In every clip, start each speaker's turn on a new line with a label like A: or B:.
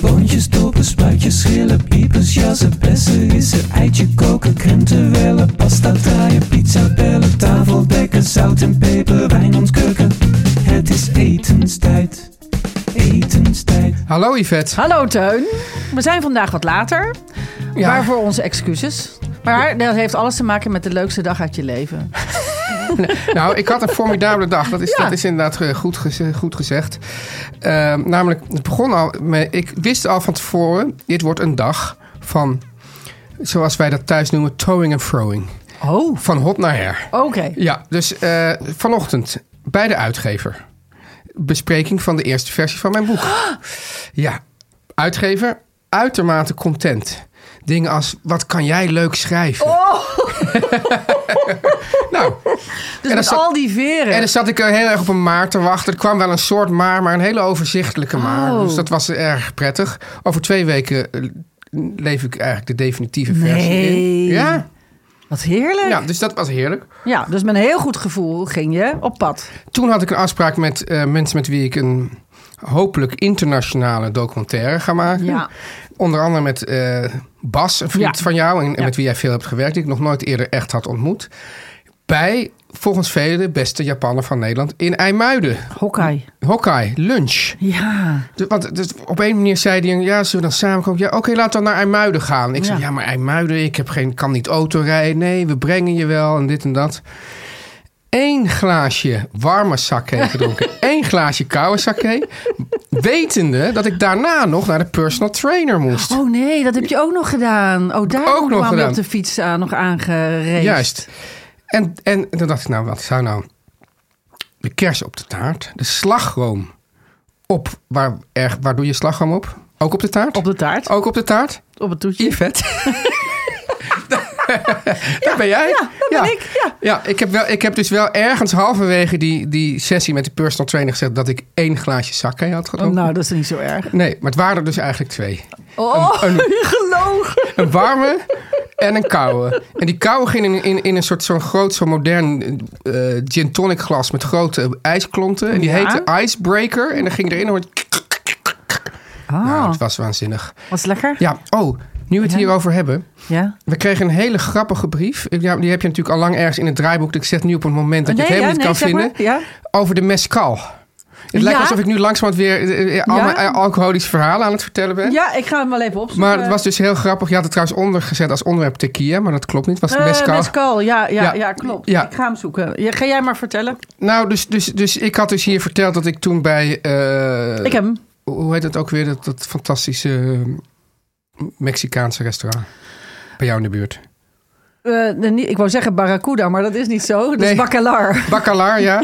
A: Boontjes, dopen, spuitjes, schillen, piepers, jassen, bessen, rissen, eitje koken, krenten wellen, pasta draaien, pizza bellen, tafel dekken, zout en peper, wijn ontkurken. Het is etenstijd, etenstijd.
B: Hallo Yvette.
C: Hallo Teun. We zijn vandaag wat later.
B: Ja.
C: Waarvoor onze excuses. Maar dat heeft alles te maken met de leukste dag uit je leven.
B: Nou, ik had een formidabele dag. Dat is, dat is inderdaad eh, goed, geze- goed gezegd. Ehm, namelijk, het begon al met... Ik wist al van tevoren, dit wordt een dag van... Zoals wij dat thuis noemen, towing en throwing.
C: Oh,
B: Van hot naar her.
C: oké.
B: Ja, dus eh, vanochtend bij de uitgever. Bespreking van de eerste versie van mijn boek. Ja, uitgever, uitermate content. Dingen als, wat kan jij leuk schrijven? nou,
C: Dus
B: En
C: met
B: dat zal-
C: al die veren.
B: en dan zat ik er heel erg op een maar te wachten. Er kwam wel een soort maar, maar een hele overzichtelijke maar.
C: Oh.
B: Dus dat was erg prettig. Over twee weken eh, leef ik eigenlijk de definitieve versie
C: Nee.
B: in. Ja?
C: Wat heerlijk.
B: ja,
C: Ja.
B: dus dat was heerlijk.
C: dus met een heel goed gevoel ging je op pad.
B: Toen had ik een afspraak met eh, mensen met wie ik een hopelijk internationale documentaire ga maken.
C: Ja.
B: Onder andere met eh, Bas, een vriend
C: Ja.
B: van jou, en, en
C: Ja.
B: met wie jij veel hebt gewerkt, die ik nog nooit eerder echt had ontmoet. Bij, volgens velen, de beste Japaner van Nederland in IJmuiden.
C: Hokkei.
B: Hokkai, lunch.
C: Ja.
B: Dus, want dus op een manier zei hij, ja, zullen we dan samen komen? Ja, oké, laten we dan naar IJmuiden gaan. Ik zei,
C: Ja.
B: ja, maar IJmuiden, ik heb geen, kan niet autorijden. Nee, we brengen je wel en dit en dat. Eén glaasje warme sake gedronken. Eén glaasje koude sake. Wetende dat ik daarna nog naar de personal trainer moest.
C: Oh nee, dat heb je ook nog gedaan. Oh, daar
B: Ook nog
C: kwam je
B: gedaan.
C: op de fiets aan, nog aangereden.
B: Juist. En, en toen dacht ik, nou, wat zou nou de kers op de taart? De slagroom op, waar, er, waar doe je slagroom op? Ook op de taart?
C: Op de taart,
B: Ook op de taart?
C: op het toetje.
B: Yvette. Daar ben jij? Ja,
C: dat ben ik, ja.
B: ik, heb wel, ik heb dus wel ergens halverwege die, die sessie met de personal trainer gezegd... dat ik één glaasje sake had gedronken.
C: nou, dat is niet zo erg.
B: Nee, maar het waren er dus eigenlijk twee.
C: Oh, je gelogen.
B: Een warme en een koude. En die koude ging in, in, in een soort zo'n groot, zo'n modern eh, gin tonic glas... met grote ijsklonten. En die
C: Ja.
B: heette Icebreaker. En dan ging erin en hoorde...
C: Ah.
B: Nou, het was waanzinnig.
C: Was lekker?
B: Ja, oh, nu we het hierover hebben...
C: Ja.
B: We kregen een hele grappige brief. Ik- Ja, die heb je natuurlijk al lang ergens in het draaiboek. Dus ik zet nu op het moment dat
C: Nee,
B: je het
C: ja,
B: helemaal
C: nee,
B: niet kan
C: zeg
B: vinden.
C: maar. Ja.
B: Over de mescal. Het lijkt
C: Ja.
B: alsof ik nu langzamerhand weer eh, eh, allemaal eh, alcoholische verhalen aan het vertellen ben.
C: ja, ik ga hem wel even opzoeken.
B: Maar het was dus heel grappig. Je had het trouwens ondergezet als onderwerp tequila, maar dat klopt niet. Het was
C: Eh,
B: mescal.
C: mescal, ja, ja,
B: Ja.
C: ja. klopt.
B: Ja.
C: Ik ga hem zoeken. Ja, ga jij maar vertellen.
B: Nou, dus, dus, dus ik had dus hier verteld dat ik toen bij... eh,
C: Ik heb hem.
B: Hoe heet dat ook weer? Dat, dat fantastische eh, Mexicaanse restaurant. Bij jou in de buurt.
C: Eh, de nie- ik wou zeggen barracuda, maar dat is niet zo. Dat
B: Nee.
C: is bacalar.
B: Bacalar, ja.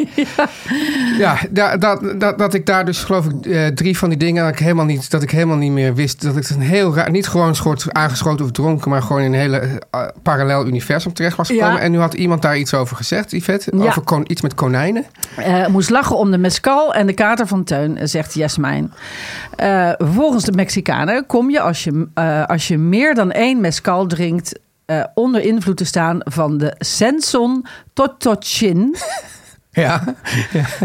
B: ja, da- dat, dat, dat ik daar dus geloof ik eh, drie van die dingen dat ik helemaal niet, dat ik helemaal niet meer wist. Dat ik een heel raar, niet gewoon schort, aangeschoten of dronken, maar gewoon in een hele eh, parallel universum terecht was gekomen.
C: Ja.
B: En nu had iemand daar iets over gezegd, Yvette.
C: Ja.
B: Over kon, iets met konijnen.
C: Eh, moest lachen om de mescal en de kater van Teun, eh, zegt Jasmijn. Eh, volgens de Mexicanen kom je als je, eh, als je meer dan één mescal drinkt... eh, onder invloed te staan van de Senson Totochin...
B: Ja.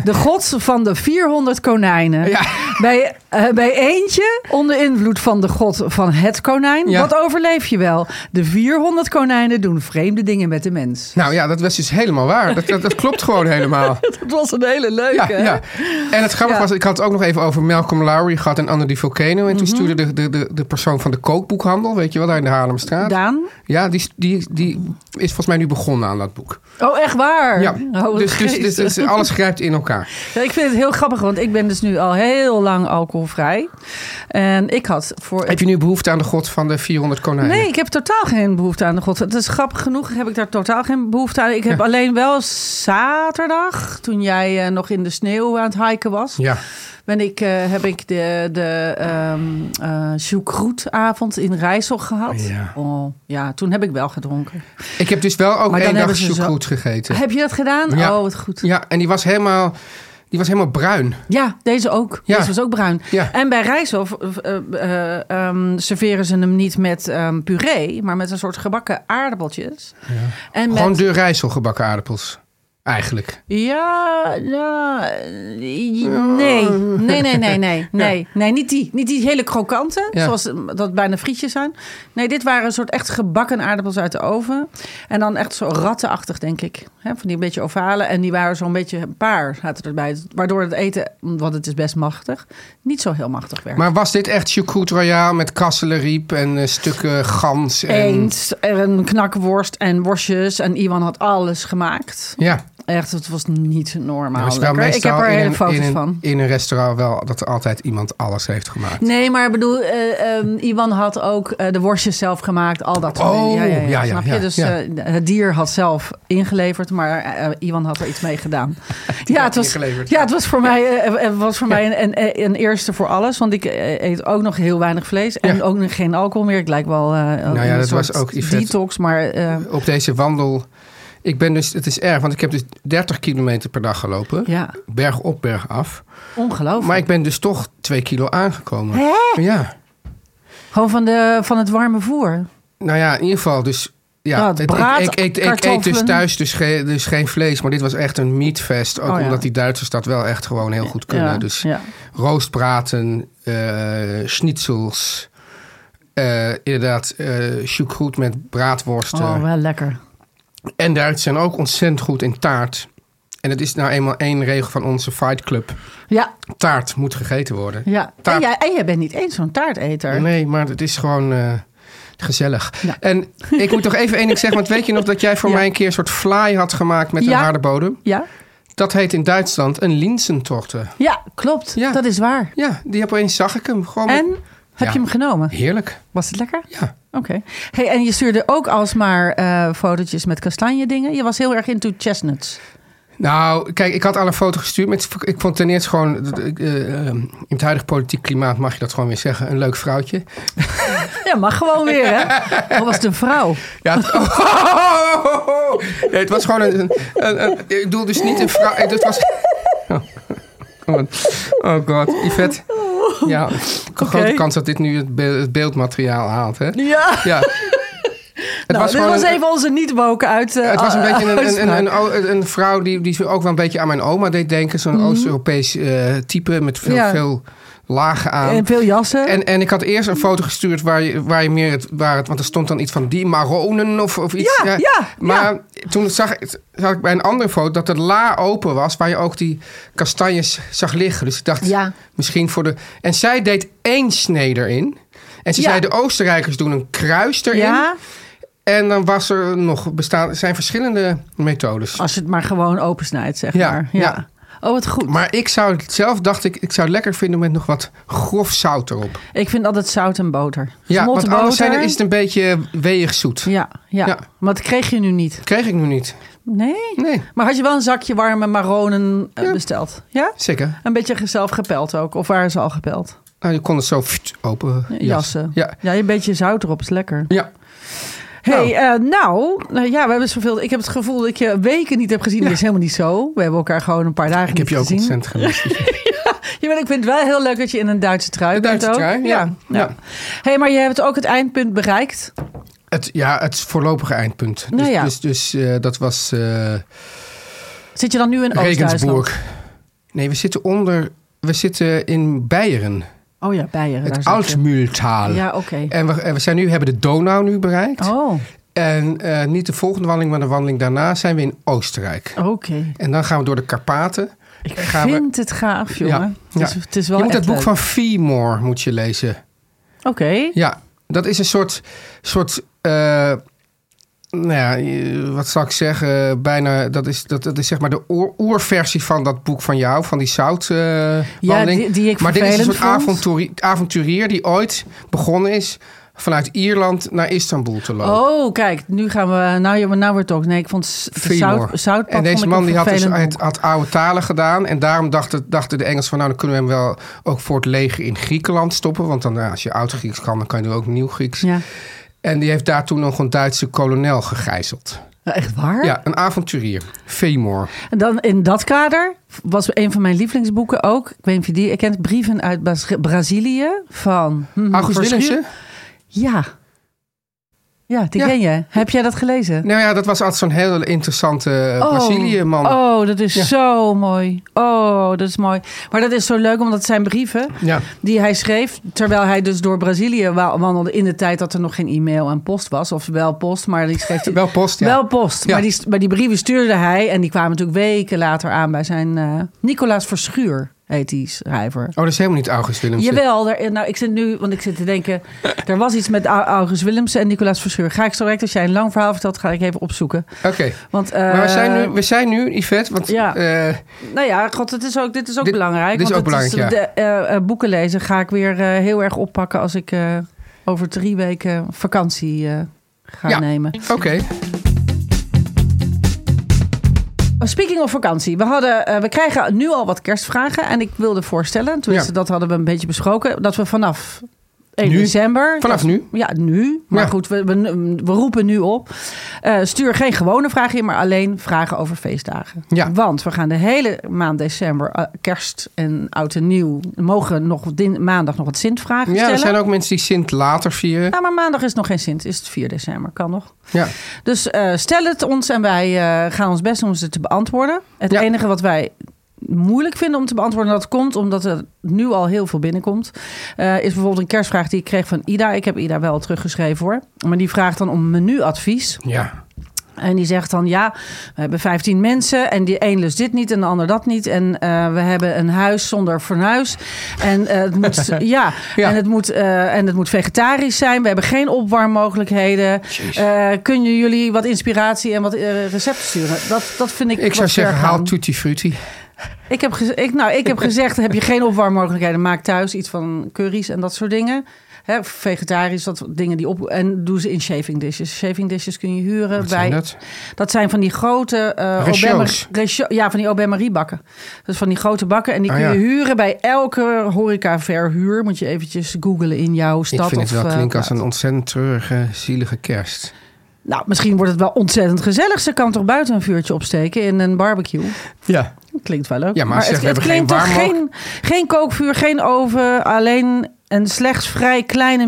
C: De god van de 400 konijnen.
B: Ja.
C: Bij, eh, bij eentje onder invloed van de god van het konijn.
B: Ja.
C: Wat overleef je wel? De 400 konijnen doen vreemde dingen met de mens.
B: Nou ja, dat was dus helemaal waar. Dat, dat, dat klopt gewoon helemaal.
C: Dat was een hele leuke.
B: Ja, ja. En het grappige
C: Ja.
B: was, ik had het ook nog even over Malcolm Lowry gehad en Anne die Volcano. En toen
C: Mhm.
B: stuurde de, de, de, de persoon van de kookboekhandel, weet je wel, daar in de Haarlemstraat.
C: Daan?
B: Ja, die, die, die is volgens mij nu begonnen aan dat boek.
C: Oh, echt waar?
B: Ja,
C: Oh, wat
B: dus, dus, dus,
C: geestig.
B: dus alles grijpt in elkaar.
C: Ja, ik vind het heel grappig, want ik ben dus nu al heel lang alcoholvrij. En ik had voor...
B: Heb je nu behoefte aan de god van de 400 konijnen?
C: Nee, ik heb totaal geen behoefte aan de god. Het is grappig genoeg, heb ik daar totaal geen behoefte aan. Ik heb alleen wel zaterdag, toen jij eh, nog in de sneeuw aan het hiken was...
B: Ja,
C: ben ik, eh, heb ik de, de ehm, eh, choucroute-avond in Rijssel gehad.
B: Ja.
C: Oh, ja, toen heb ik wel gedronken.
B: ik heb dus wel ook
C: Maar dan
B: één dag
C: hebben ze zo-
B: choucroute gegeten.
C: Heb je dat gedaan?
B: Ja.
C: Oh, wat goed.
B: Ja, en die was helemaal, die was helemaal bruin.
C: Ja, deze ook.
B: Ja.
C: Deze was ook bruin.
B: Ja.
C: En bij Rijshof eh, eh, ehm, serveren ze hem niet met ehm, puree, maar met een soort gebakken aardappeltjes. En met,
B: Gewoon de rijsel gebakken aardappels. Eigenlijk.
C: Ja, ja, eh, nee. Nee, nee, nee, nee. Nee, nee niet, die, niet die hele krokante,
B: Ja.
C: zoals eh, dat bijna frietjes zijn. Nee, dit waren een soort echt gebakken aardappels uit de oven. En dan echt zo rattenachtig, denk ik. Hè, van die een beetje ovale. En die waren zo'n beetje een paar zaten erbij. Waardoor het eten, want het is best machtig, niet zo heel machtig werd.
B: Maar was dit echt choucroute royaal met kasselenriep en eh, stukken gans? En...
C: Eend, en knakworst en worstjes. En Iwan had alles gemaakt.
B: Ja.
C: Echt, het was niet normaal.
B: Nou, is wel
C: Nou, lekker. ik heb
B: meestal
C: er
B: in
C: hele
B: een-
C: foto's
B: in een,
C: van.
B: In een restaurant wel dat er altijd iemand alles heeft gemaakt.
C: Nee, maar ik bedoel, eh, ehm, Iwan had ook eh, de worstjes zelf gemaakt, al dat soort
B: Oh,
C: dingen.
B: ja, ja,
C: Snap je?
B: ja,
C: Dus
B: ja.
C: eh, het dier had zelf ingeleverd, maar eh, Iwan had er iets mee gedaan. ja, het was,
B: ingeleverd.
C: ja, het was voor mij, eh, eh, was voor mij een, eh, een, een eerste voor alles, want ik eh, eet ook nog heel weinig vlees en
B: Ja. Nou
C: ook nog geen alcohol meer. Ik lijk wel eh in een
B: dat
C: soort
B: was ook Yvette.
C: detox, maar eh,
B: Op deze wandel. Ik ben dus, het is erg, want ik heb dus 30 kilometer per dag gelopen.
C: ja,
B: Berg op, berg af.
C: ongelooflijk.
B: Maar ik ben dus toch 2 kilo aangekomen. Ja.
C: Gewoon van, de, van het warme voer.
B: Nou ja, in ieder geval dus... Ja,
C: Ja,
B: ik- ik-
C: braad,
B: ik, ik, ik, eet dus
C: kartoffelen.
B: thuis dus, ge- dus geen vlees, maar dit was echt een meatfest. Ook
C: Oh ja.
B: omdat die Duitsers dat wel echt gewoon heel goed kunnen.
C: Ja,
B: dus
C: ja.
B: roostbraten, eh schnitzels, eh, inderdaad eh choucroute met braadworsten.
C: Oh, wel lekker.
B: En Duitsers zijn ook ontzettend goed in taart. En het is nou eenmaal één regel van onze Fight Club.
C: Ja,
B: Taart moet gegeten worden.
C: Ja,
B: Taart-
C: en jij, en jij bent niet eens zo'n taarteter.
B: Nee, maar het is gewoon eh, gezellig.
C: Ja.
B: En ik moet nog even één ding zeggen. Want weet je nog dat jij voor
C: Ja.
B: mij een keer een soort fly had gemaakt met een
C: Ja.
B: harde bodem?
C: Ja?
B: Dat heet in Duitsland een linsentorte.
C: ja, klopt.
B: Ja.
C: Dat is waar.
B: Ja, die heb opeens zag ik hem. Gewoon
C: En
B: met-
C: heb
B: Ja.
C: je hem genomen?
B: Heerlijk.
C: Was het lekker?
B: Ja.
C: Oké. Hey, en je stuurde ook alsmaar eh fotootjes met kastanje dingen. Je was heel erg into chestnuts.
B: Nou, kijk, ik had al een foto gestuurd. Met, ik vond ten eerste gewoon, dat ik, eh, eh, in het huidige politiek klimaat mag je dat gewoon weer zeggen, een leuk vrouwtje.
C: Ja, mag gewoon weer, hè? Of was het een vrouw?
B: Ja, het, Nee, het was gewoon een, een, een- een- Ik bedoel dus niet een vrouw. Het was. Oh, oh god, Yvette. Ja, grote kans dat dit nu het, be- het beeldmateriaal haalt, hè?
C: Ja.
B: Ja. Het
C: nou, dit
B: gewoon
C: was
B: een-
C: even onze niet-woken uit... eh,
B: Het was een
C: eh,
B: beetje een, een, een,
C: uitspraak.
B: een, een, een vrouw die, die ook wel een beetje aan mijn oma deed denken. Zo'n Oost-Europees eh, type met veel,
C: Mhm. Ja.
B: veel lagen aan.
C: En veel jassen.
B: En, en ik had eerst een foto gestuurd waar je, waar je meer het, waar het... Want er stond dan iets van die Maronen of, of iets.
C: Ja, ja,
B: maar toen zag, ik- zag ik bij een andere foto dat de la open was... waar je ook die kastanjes zag liggen. Dus ik dacht,
C: Ja.
B: misschien voor de... En zij deed één snee erin. En ze
C: Ja.
B: zei, de Oostenrijkers doen een kruis erin.
C: ja,
B: En dan was er nog... Bestaan, zijn verschillende methodes.
C: als je het maar gewoon opensnijdt, zeg
B: Ja,
C: maar.
B: ja.
C: Oh, wat goed.
B: Maar ik zou het zelf, dacht ik, ik zou het lekker vinden met nog wat grof zout erop.
C: Ik vind altijd zout en boter.
B: Ja,
C: Gesmolten
B: want anders zijn er-
C: boter.
B: is het een beetje weeg zoet.
C: Ja, ja.
B: Ja.
C: maar dat kreeg je nu niet.
B: Kreeg ik nu niet.
C: Nee.
B: Nee,
C: Maar had je wel een zakje warme maronen eh, besteld? Ja?
B: zeker.
C: Een beetje zelf gepeld ook. Of waren ze al gepeld?
B: Nou, je kon het zo pft, open eh,
C: Jassen.
B: Ja.
C: een beetje zout erop is lekker.
B: ja.
C: hey, eh, nou, nou ja, we hebben zoveel. Ik heb het gevoel dat ik je weken niet heb gezien. Dat is helemaal niet zo. We hebben elkaar gewoon een paar dagen
B: Ik heb je
C: niet
B: ook
C: gezien.
B: ontzettend gemist.
C: Ja, maar ik vind het wel heel leuk dat je in een Duitse trui
B: De
C: bent
B: Duitse
C: ook.
B: trui, ja.
C: ja.
B: Ja.
C: hey, maar je hebt ook het eindpunt bereikt.
B: Het, ja, het voorlopige eindpunt. Dus,
C: Nou ja.
B: dus, dus eh, dat was eh,
C: Zit je dan nu in Oost-Duitsland?
B: Regensburg. Nee, we zitten onder. We zitten in Beieren.
C: Oh ja, Beieren. daar
B: Het
C: zat je.
B: Altmühltal.
C: Ja, oké.
B: En we, en we zijn nu, hebben de Donau nu bereikt.
C: Oh,
B: En eh, niet de volgende wandeling, maar de wandeling daarna zijn we in Oostenrijk.
C: oké.
B: En dan gaan we door de Karpaten.
C: Ik
B: gaan we-
C: vind het gaaf, jongen. Het, is, het is wel
B: je moet
C: echt
B: het boek
C: leuk.
B: van Fillmore moet je lezen.
C: Oké.
B: Ja, dat is een soort, soort eh, nou ja, eh, wat zal ik zeggen, eh, bijna, dat is, dat, dat is zeg maar de oer- oerversie van dat boek van jou, van die zout eh, wandeling.
C: die- die ik
B: maar dit is een
C: vervelend
B: soort
C: vond.
B: avonturi- avonturier die ooit begonnen is vanuit Ierland naar Istanbul te lopen.
C: Oh, kijk, nu gaan we. Nou, ja, maar nou wordt het ook. Nee, ik vond s-
B: Fillmore.
C: zout, zoutpad
B: en deze
C: vond ik
B: man
C: een
B: die had, dus,
C: vervelend
B: had,
C: boek.
B: had oude talen gedaan. En daarom dachten, dachten de Engelsen van nou dan kunnen we hem wel ook voor het leger in Griekenland stoppen. Want dan, ja, als je oud Grieks kan, dan kan je er ook nieuw Grieks.
C: Ja.
B: En die heeft daar toen nog een Duitse kolonel gegijzeld.
C: Nou, Echt waar?
B: Ja, een avonturier. Femor.
C: En dan in dat kader was een van mijn lievelingsboeken ook. Ik weet niet of je die kent. Brieven uit Bas- Brazilië van. hm,
B: August
C: Verschuur.
B: Willemsen?
C: Ja. Ja, die
B: Ja.
C: ken je. Heb jij dat gelezen?
B: Nou ja, dat was altijd zo'n hele interessante eh,
C: Oh.
B: Brazilië-man.
C: Oh, dat is
B: Ja.
C: zo mooi. Oh, dat is mooi. Maar dat is zo leuk, omdat het zijn brieven
B: Ja.
C: die hij schreef. Terwijl hij dus door Brazilië wa- wandelde in de tijd dat er nog geen e-mail en post was. Of wel post, maar die schreef hij-
B: Wel post, ja.
C: Wel post.
B: Ja.
C: Maar, die, maar die brieven stuurde hij. En die kwamen natuurlijk weken later aan bij zijn... eh Nicolaas Verschuur heet die schrijver.
B: Oh, dat is helemaal niet August Willemsen.
C: Jawel, daar, nou, ik zit nu, want ik zit te denken. Er was iets met Au- August Willemsen en Nicolaas Verschuur. Ga ik zo direct, als jij een lang verhaal vertelt, ga ik even opzoeken.
B: Oké.
C: Want, eh,
B: maar we zijn, nu, we zijn nu, Yvette, want
C: Ja.
B: eh,
C: Nou ja, god, het is ook, dit is ook
B: Dit-
C: belangrijk.
B: dit is
C: want
B: ook
C: het
B: belangrijk,
C: de, eh, eh, boeken lezen ga ik weer eh, heel erg oppakken als ik eh, over drie weken vakantie eh, ga
B: Ja.
C: nemen.
B: oké.
C: Oh, Speaking of vakantie. We, hadden, eh, we krijgen nu al wat kerstvragen. En ik wilde voorstellen, tenminste
B: Ja.
C: dat hadden we een beetje besproken... dat we vanaf 1
B: Nu?
C: december...
B: Vanaf
C: dat-
B: nu?
C: Ja, nu. Maar
B: Ja.
C: goed, we, we, we roepen nu op. Eh, stuur geen gewone vragen in, maar alleen vragen over feestdagen.
B: Ja.
C: Want we gaan de hele maand december, eh, kerst en oud en nieuw... mogen nog din, maandag nog wat Sintvragen
B: Ja, er
C: stellen.
B: zijn ook mensen die Sint later vieren.
C: Ja, maar maandag is nog geen Sint. Is het 4 december, kan nog.
B: Ja.
C: Dus eh, stel het ons en wij eh, gaan ons best doen om ze te beantwoorden. Het
B: Ja.
C: enige wat wij moeilijk vinden om te beantwoorden, dat komt omdat er nu al heel veel binnenkomt, eh, is bijvoorbeeld een kerstvraag die ik kreeg van Ida. Ik heb Ida wel teruggeschreven hoor. Maar die vraagt dan om menuadvies.
B: Ja.
C: En die zegt dan, ja, we hebben 15 mensen en die een lust dit niet en de ander dat niet. En eh, we hebben een huis zonder fornuis. En, eh, het, moet, ja,
B: Ja.
C: En, het moet, eh, en het moet vegetarisch zijn. We hebben geen opwarmmogelijkheden. Eh kunnen jullie wat inspiratie en wat eh, recepten sturen? Dat, dat vind ik
B: Ik zou
C: wat ver
B: zeggen, haal
C: gaan.
B: Tutti Frutti.
C: Ik heb, gez- ik, nou, ik heb gezegd, heb je geen opwarmmogelijkheden, maak thuis iets van curry's en dat soort dingen. Hè, vegetarisch, dat soort dingen die op... En doe ze in shaving dishes. Shaving dishes kun je huren
B: Wat
C: bij...
B: zijn dat?
C: Dat zijn van die grote eh
B: Rechauds.
C: Aubame- recha- ja, van die Aubameyrie bakken. Dus van die grote bakken. En die
B: Ah,
C: kun je
B: ja.
C: huren bij elke horecaverhuur. Moet je eventjes googlen in jouw stad.
B: Ik vind het
C: of,
B: wel
C: eh,
B: klinken als een
C: plaats.
B: ontzettend treurige, zielige kerst.
C: Nou, misschien wordt het wel ontzettend gezellig. Ze kan toch buiten een vuurtje opsteken in een barbecue.
B: Ja.
C: Klinkt wel leuk.
B: Ja, maar als je
C: het,
B: zegt,
C: het
B: we
C: klinkt
B: hebben
C: toch
B: geen
C: geen, geen kookvuur, geen oven. Alleen een slechts vrij kleine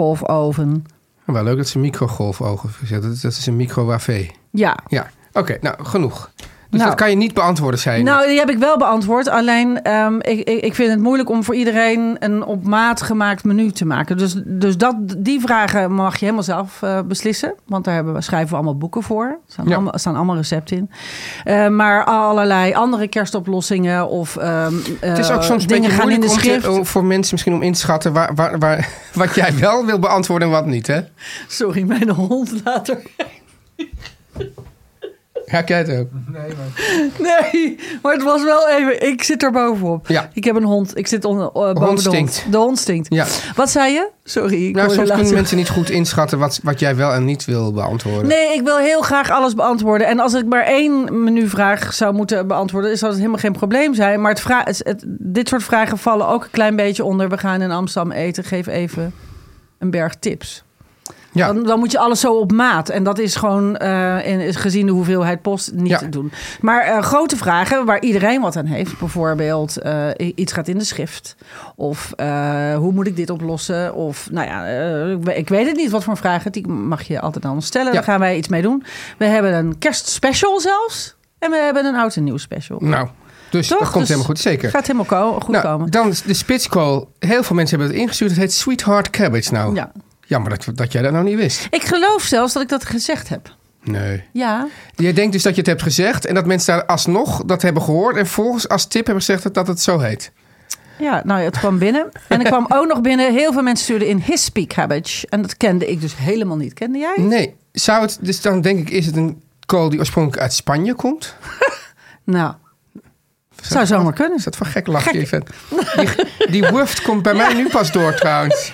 C: microgolfoven.
B: Wel leuk dat ze microgolfogen verzetten. Dat- Dat is een microwavé.
C: Ja.
B: Ja. Oké, nou genoeg. Dus
C: Nou.
B: dat kan je niet beantwoorden, zei je.
C: Nou, die heb ik wel beantwoord. Alleen, ehm, ik, ik, ik vind het moeilijk om voor iedereen een op maat gemaakt menu te maken. Dus, dus dat, die vragen mag je helemaal zelf eh, beslissen. Want daar hebben we, schrijven we allemaal boeken voor. Er staan,
B: Ja.
C: allemaal, er staan allemaal recepten in. Eh, maar allerlei andere kerstoplossingen of ehm,
B: het is
C: eh,
B: ook soms een
C: dingen
B: beetje
C: gaan in de
B: moeilijk om te- oh.
C: schrift.
B: om voor mensen misschien om in te schatten waar, waar, waar, wat jij wel wil beantwoorden en wat niet. Hè?
C: Sorry, mijn hond later.
B: Raak jij het ook?
C: Nee, maar het was wel even. Ik zit er bovenop.
B: Ja.
C: Ik heb een hond. Ik zit onder, eh, boven de hond.
B: stinkt.
C: De hond stinkt.
B: Ja.
C: Wat zei je? Sorry. Ik
B: Nou,
C: hoorde
B: soms
C: laatst-
B: kunnen mensen niet goed inschatten wat, wat jij wel en niet wil beantwoorden.
C: Nee, ik wil heel graag alles beantwoorden. En als ik maar één menuvraag zou moeten beantwoorden, zou het helemaal geen probleem zijn. Maar het vra- het, het- dit soort vragen vallen ook een klein beetje onder. We gaan in Amsterdam eten. Geef even een berg tips.
B: ja.
C: Dan, dan moet je alles zo op maat. En dat is gewoon eh, in, is gezien de hoeveelheid post niet
B: Ja.
C: te doen. Maar eh, grote vragen waar iedereen wat aan heeft. Bijvoorbeeld, eh, i- iets gaat in de schrift. Of eh, hoe moet ik dit oplossen? Of nou ja, eh, ik we- ik weet het niet wat voor vragen. Die mag je altijd aan ons stellen.
B: Ja.
C: Daar gaan wij iets mee doen. We hebben een kerstspecial zelfs. En we hebben een oud en nieuw special.
B: Nou, dus
C: Toch?
B: dat komt
C: Dus
B: helemaal goed. Zeker.
C: Gaat helemaal ko- goed
B: nou,
C: komen.
B: Dan de spitskool. Heel veel mensen hebben het ingestuurd. Het heet Sweetheart Cabbage nou.
C: Ja.
B: Jammer dat, dat jij dat nou niet wist.
C: Ik geloof zelfs dat ik dat gezegd heb.
B: Nee.
C: Ja.
B: Jij denkt dus dat je het hebt gezegd en dat mensen daar alsnog dat hebben gehoord en volgens als tip hebben gezegd dat, dat het zo heet.
C: Ja, nou ja, het kwam binnen. En er kwam ook nog binnen, heel veel mensen stuurden in Hispy Cabbage. En dat kende ik dus helemaal niet. Kende jij?
B: Nee, zou het, dus dan denk ik, is het een kool die oorspronkelijk uit Spanje komt?
C: Nou, zou zomaar kunnen.
B: Is dat voor gek lachje even? Die, die wuft komt bij mij nu pas door trouwens.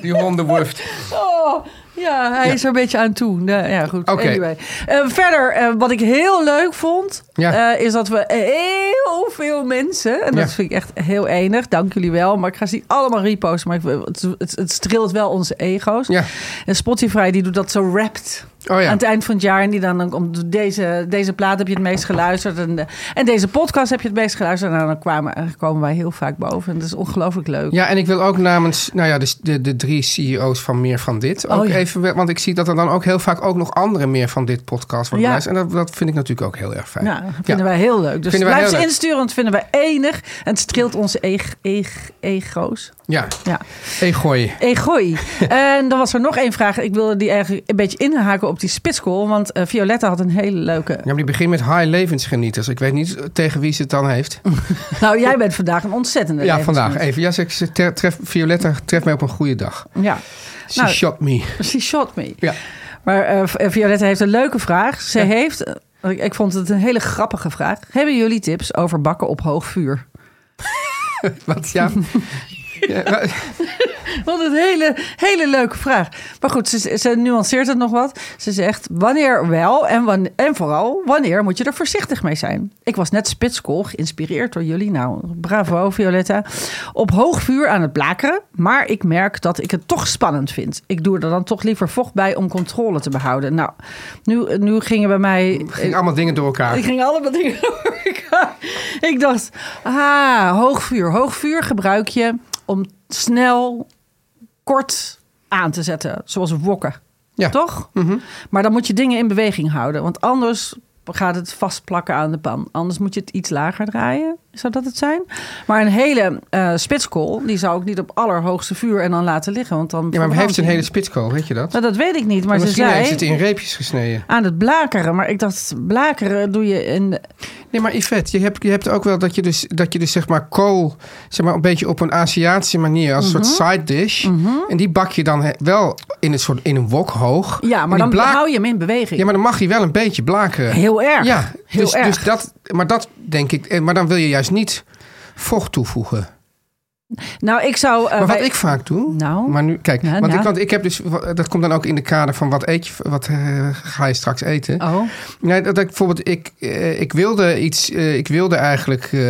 B: Die hondenwuft.
C: Oh, ja, hij is er een beetje aan toe. Nou, ja, goed.
B: Oké.
C: Anyway. Eh, verder, eh, wat ik heel leuk vond,
B: Ja.
C: eh, is dat we heel veel mensen, en dat
B: Ja.
C: vind ik echt heel enig, dank jullie wel, maar ik ga ze niet allemaal reposten, maar ik, het, het, het streelt wel onze ego's.
B: Ja.
C: En Spotify die doet dat zo rapt.
B: Oh ja.
C: Aan het eind van het jaar. En die dan ook om deze, deze plaat heb je het meest geluisterd. En, de- en deze podcast heb je het meest geluisterd. En dan kwamen, eh, komen wij heel vaak boven. En dat is ongelooflijk leuk.
B: Ja, en ik wil ook namens nou ja, de, de, de drie CEO's van Meer van Dit ook
C: Oh ja.
B: even... wel- Want ik zie dat er dan ook heel vaak ook nog andere Meer van Dit podcast worden
C: Ja.
B: geluisterd. En dat, dat vind ik natuurlijk ook heel erg fijn.
C: Ja, dat vinden wij heel leuk. Dus
B: Vinden wij
C: blijf
B: heel
C: ze
B: leuk.
C: insturen, want dat vinden wij enig. En het streelt onze eg- eg- ego's.
B: Ja,
C: Ja,
B: egooi.
C: egoi. en dan was er nog één vraag. Ik wilde die eigenlijk een beetje inhaken op die spitskool. Want eh, Violetta had een hele leuke...
B: Ja, maar die begint met high levensgenieters. Ik weet niet tegen wie ze het dan heeft.
C: Nou, jij bent vandaag een ontzettende
B: Ja,
C: levensgeniet.
B: vandaag even. Ja, ze, ze ter- tref, Violetta treft mij op een goede dag.
C: Ja,
B: She
C: Nou.
B: shot me.
C: she shot me.
B: Ja.
C: Maar eh, V- eh, Violetta heeft een leuke vraag. Ze heeft... eh, Ik ik vond het een hele grappige vraag. Hebben jullie tips over bakken op hoog vuur?
B: Wat, ja. ja wa-
C: Wat een hele, hele leuke vraag. Maar goed, ze, ze nuanceert het nog wat. Ze zegt, wanneer wel en, wan- en vooral, wanneer moet je er voorzichtig mee zijn? Ik was net spitskool, geïnspireerd door jullie. Nou, bravo Violetta. Op hoog vuur aan het blakeren, maar ik merk dat ik het toch spannend vind. Ik doe er dan toch liever vocht bij om controle te behouden. Nou, nu, nu gingen bij mij...
B: ging allemaal dingen door elkaar.
C: Ik ging allemaal dingen door elkaar. Ik dacht, ah, hoogvuur. Hoogvuur gebruik je om snel, kort aan te zetten. Zoals wokken.
B: Ja. Mhm.
C: Toch? Maar dan moet je dingen in beweging houden. Want anders gaat het vastplakken aan de pan. Anders moet je het iets lager draaien. Zou dat het zijn? Maar een hele eh spitskool, die zou ik niet op allerhoogste vuur en dan laten liggen. Want dan
B: Ja, maar heeft
C: verbrandt
B: ze een
C: die.
B: hele spitskool, weet je dat?
C: Nou, dat weet ik niet. Maar ze
B: Misschien
C: zei
B: heeft ze het in reepjes gesneden.
C: aan het blakeren. Maar ik dacht, blakeren doe je in
B: Nee, maar Yvette, je hebt, je hebt ook wel dat je dus, dat je dus zeg maar kool, zeg maar een beetje op een Aziatische manier, als een soort side dish. En die bak je dan he- wel in een soort in een wok hoog.
C: Ja,
B: En
C: maar
B: die
C: dan
B: blaak-
C: hou je hem in beweging.
B: Ja, maar dan mag je wel een beetje blakeren.
C: Heel erg.
B: Ja,
C: Heel
B: dus,
C: erg.
B: dus dat, maar dat denk ik, eh, maar dan wil je juist niet vocht toevoegen.
C: Nou, ik zou... eh,
B: Maar wat
C: wij-
B: ik vaak doe.
C: Nou?
B: maar nu, kijk,
C: Ja,
B: want
C: ja.
B: Ik, want ik heb dus, dat komt dan ook in de kader van wat eet je, wat eh, ga je straks eten.
C: Oh,
B: Nee, dat, dat ik bijvoorbeeld, ik, eh, ik wilde iets, eh, ik wilde eigenlijk eh,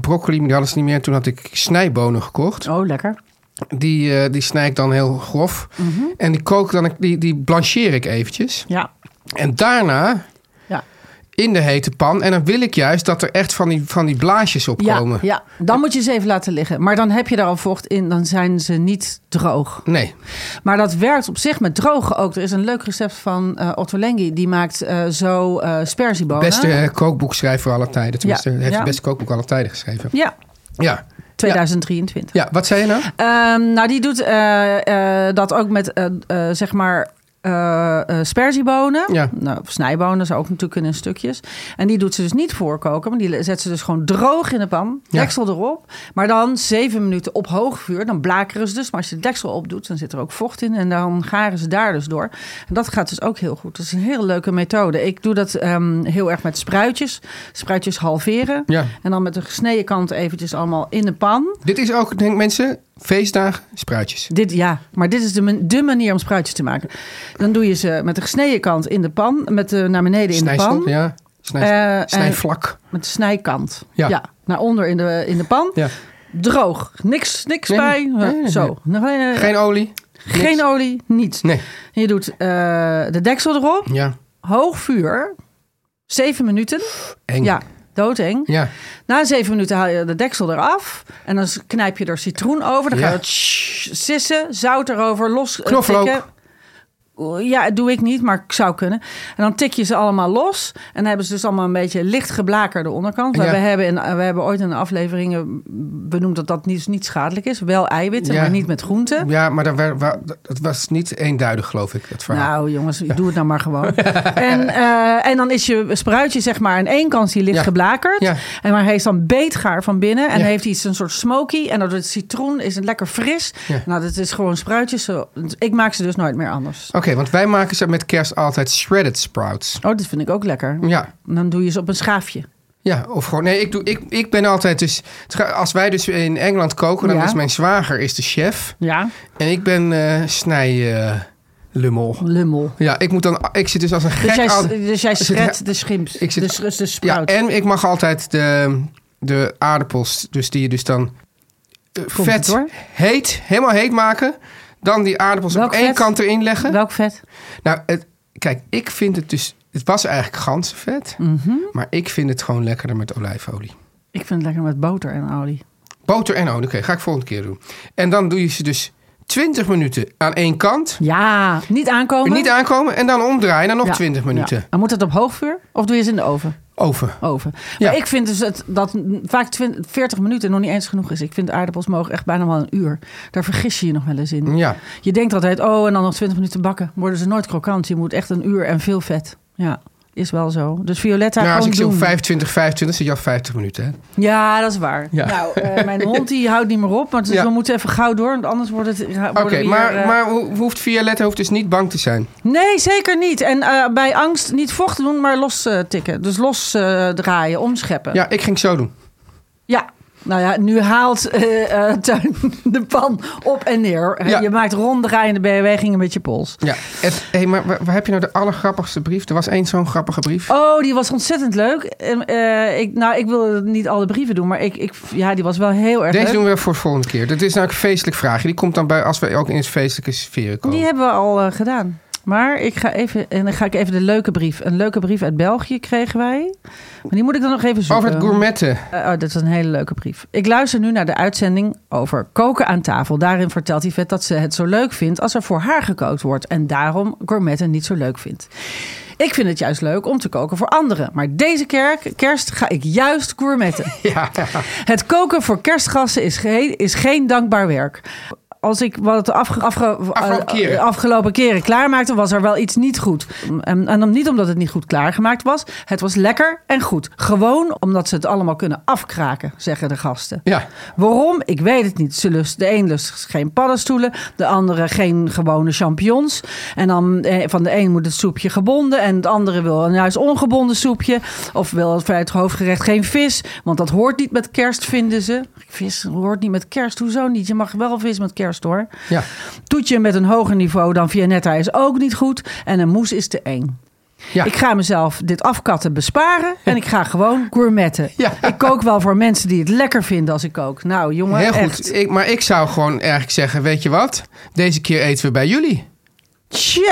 B: broccoli, maar die hadden ze niet meer. Toen had ik snijbonen gekocht.
C: oh, lekker.
B: Die, eh, die snij ik dan heel grof.
C: Mhm.
B: En die kook dan, die, die blancheer ik eventjes.
C: Ja.
B: En daarna
C: Ja.
B: in de hete pan. En dan wil ik juist dat er echt van die, van die blaasjes op
C: Ja,
B: komen.
C: ja, dan moet je ze even laten liggen. Maar dan heb je er al vocht in, dan zijn ze niet droog.
B: Nee.
C: Maar dat werkt op zich met drogen ook. Er is een leuk recept van eh Otto Lengi. Die maakt eh, zo eh sperziebonen.
B: Beste eh, kookboekschrijver aller tijden. Tenminste,
C: Ja,
B: heeft
C: ja.
B: het beste kookboek aller tijden geschreven.
C: Ja,
B: Ja.
C: 2023.
B: Ja, wat zei je nou?
C: Ehm, nou, die doet eh, eh, dat ook met, eh, eh, zeg maar, eh eh, sperziebonen.
B: Ja.
C: Nou, of snijbonen zou ook natuurlijk kunnen in stukjes. En die doet ze dus niet voorkoken, maar die zet ze dus gewoon droog in de pan.
B: Ja.
C: Deksel erop. Maar dan zeven minuten op hoog vuur. Dan blakeren ze dus. Maar als je de deksel opdoet, dan zit er ook vocht in. En dan garen ze daar dus door. En dat gaat dus ook heel goed. Dat is een hele leuke methode. Ik doe dat ehm, heel erg met spruitjes. Spruitjes halveren.
B: Ja.
C: En dan met de gesneden kant eventjes allemaal in de pan.
B: Dit is ook, denk mensen, feestdagen, spruitjes.
C: Dit, ja, maar dit is de, man- de manier om spruitjes te maken. Dan doe je ze met de gesneden kant in de pan, met de naar beneden in de
B: Snijsel,
C: pan,
B: ja.
C: Eh,
B: Snij,
C: en-
B: snijvlak.
C: met de snijkant.
B: Ja.
C: naar onder in de, in de pan.
B: Ja.
C: Droog, niks, niks
B: Nee,
C: bij.
B: nee, nee, nee.
C: Zo, Nog een, eh,
B: Geen olie?
C: geen olie, niets.
B: Nee.
C: En Je doet eh, de deksel erop,
B: Ja.
C: hoog vuur, zeven minuten.
B: Eng.
C: Ja, doodeng.
B: Ja.
C: Na zeven minuten haal je de deksel eraf. En dan knijp je er citroen over. Dan
B: Ja.
C: gaat het tss- sissen, zout erover, los eh,
B: Knoflook.
C: tikken. Ja, dat doe ik niet, maar ik zou kunnen. En dan tik je ze allemaal los. En dan hebben ze dus allemaal een beetje licht geblakerde onderkant. Maar
B: Ja.
C: We, hebben in, we hebben ooit in de afleveringen benoemd dat dat niet, niet schadelijk is. Wel eiwitten,
B: Ja.
C: maar niet met groenten.
B: Ja, maar daar wer- wa- dat was niet eenduidig, geloof ik, het verhaal.
C: Nou jongens, doe het nou maar gewoon. en, eh, en dan is je spruitje zeg maar aan één kant is die licht
B: Ja.
C: geblakerd.
B: Ja.
C: En maar hij is dan beetgaar van binnen. En
B: Ja.
C: heeft iets een soort smoky. En door het citroen is het lekker fris.
B: Ja.
C: Nou, dat is gewoon spruitjes. Zo- Ik maak ze dus nooit meer anders.
B: Oké, want wij maken ze met kerst altijd shredded sprouts.
C: Oh, dat vind ik ook lekker.
B: Ja,
C: En dan doe je ze op een schaafje.
B: ja of gewoon... Nee, ik, doe, ik, ik ben altijd dus... het ga- Als wij dus in Engeland koken, dan
C: Ja.
B: is mijn zwager is de chef.
C: Ja.
B: En ik ben eh snij... eh lummel.
C: Lummel.
B: Ja, ik moet dan... Ik zit dus als een gek...
C: Dus jij,
B: al-
C: dus jij
B: zit-
C: schredt de schimps.
B: Ik zit-
C: dus, dus de
B: Ja,
C: sprout.
B: en ik mag altijd de, de aardappels, dus die je dus dan eh,
C: Komt het
B: vet
C: door?
B: heet, helemaal heet maken. Dan die aardappels
C: Welk
B: op één
C: vet?
B: kant erin leggen.
C: Welk vet?
B: Nou, het, kijk, ik vind het dus... Het was eigenlijk ganzenvet,
C: Mhm.
B: maar ik vind het gewoon lekkerder met olijfolie.
C: Ik vind het lekker met boter en olie.
B: Boter en olie, oké, ga ik volgende keer doen. En dan doe je ze dus 20 minuten aan één kant.
C: Ja, niet aankomen.
B: Niet aankomen en dan omdraaien en nog 20 minuten.
C: En moet het op hoogvuur? Of doe je ze in de oven?
B: Oven.
C: oven.
B: Ja.
C: Maar ik vind dus het, dat vaak 20, 40 minuten nog niet eens genoeg is. Ik vind aardappels mogen echt bijna wel een uur. Daar vergis je je nog wel eens in.
B: Ja.
C: Je denkt altijd, oh, en dan nog 20 minuten bakken. Worden ze nooit krokant. Je moet echt een uur en veel vet. Ja, is wel zo. Dus Violetta,
B: Nou, als
C: gewoon
B: ik zo
C: doen.
B: 25, 25, zit je al 50 minuten. Hè?
C: Ja, dat is waar.
B: Ja.
C: Nou, eh, mijn hond die houdt niet meer op. Maar dus
B: Ja.
C: we moeten even gauw door, want anders wordt het... eh,
B: Oké, maar, maar hoe- hoeft Violetta hoeft dus niet bang te zijn.
C: Nee, zeker niet. En eh, bij angst niet vocht doen, maar los eh, tikken. Dus los eh, draaien, omscheppen.
B: Ja, ik ging zo doen.
C: Ja. Nou ja, nu haalt eh, eh, Tuin de pan op en neer. Eh,
B: Ja.
C: Je maakt ronddraaiende bewegingen met je pols.
B: Ja. Het, hey, maar waar, waar heb je nou de allergrappigste brief? Er was één zo'n grappige brief.
C: Oh, die was ontzettend leuk. Ehm, eh, ik, nou, ik wil niet al de brieven doen, maar ik, ik, ja, die was wel heel erg
B: Deze
C: leuk.
B: doen we voor de volgende keer. Dat is namelijk een feestelijk vraagje. Die komt dan bij als we ook in het feestelijke sfeer komen.
C: Die hebben we al eh, gedaan. Maar ik ga even, en dan ga ik even de leuke brief. Een leuke brief uit België kregen wij. Maar die moet ik dan nog even zoeken.
B: Over het gourmetten.
C: Eh, oh, dat is een hele leuke brief. Ik luister nu naar de uitzending over koken aan tafel. Daarin vertelt Yvette dat ze het zo leuk vindt als er voor haar gekookt wordt. En daarom gourmetten niet zo leuk vindt. Ik vind het juist leuk om te koken voor anderen. Maar deze kerk, kerst ga ik juist gourmetten.
B: Ja.
C: Het koken voor kerstgassen is, ge- is geen dankbaar werk. Als ik wat de afge- afge-
B: Afgelopen keren.
C: eh, afgelopen keren klaarmaakte, was er wel iets niet goed. En, en om- niet omdat het niet goed klaargemaakt was. Het was lekker en goed. Gewoon omdat ze het allemaal kunnen afkraken, zeggen de gasten.
B: Ja.
C: Waarom? Ik weet het niet. Ze lust, de een lust geen paddenstoelen, de andere geen gewone champignons. En dan eh, van de een moet het soepje gebonden en het andere wil een juist ongebonden soepje. Of wil het- bij het hoofdgerecht geen vis, want dat hoort niet met kerst, vinden ze. Vis hoort niet met kerst, hoezo niet? Je mag wel vis met kerst hoor.
B: Ja.
C: Toetje met een hoger niveau dan Vianetta is ook niet goed en een moes is te eng.
B: Ja.
C: Ik ga mezelf dit afkatten besparen en ik ga gewoon gourmetten.
B: Ja.
C: Ik kook wel voor mensen die het lekker vinden als ik kook. Nou, jongen,
B: Heel
C: echt.
B: goed. Ik, maar ik zou gewoon eigenlijk zeggen, weet je wat? Deze keer eten we bij jullie.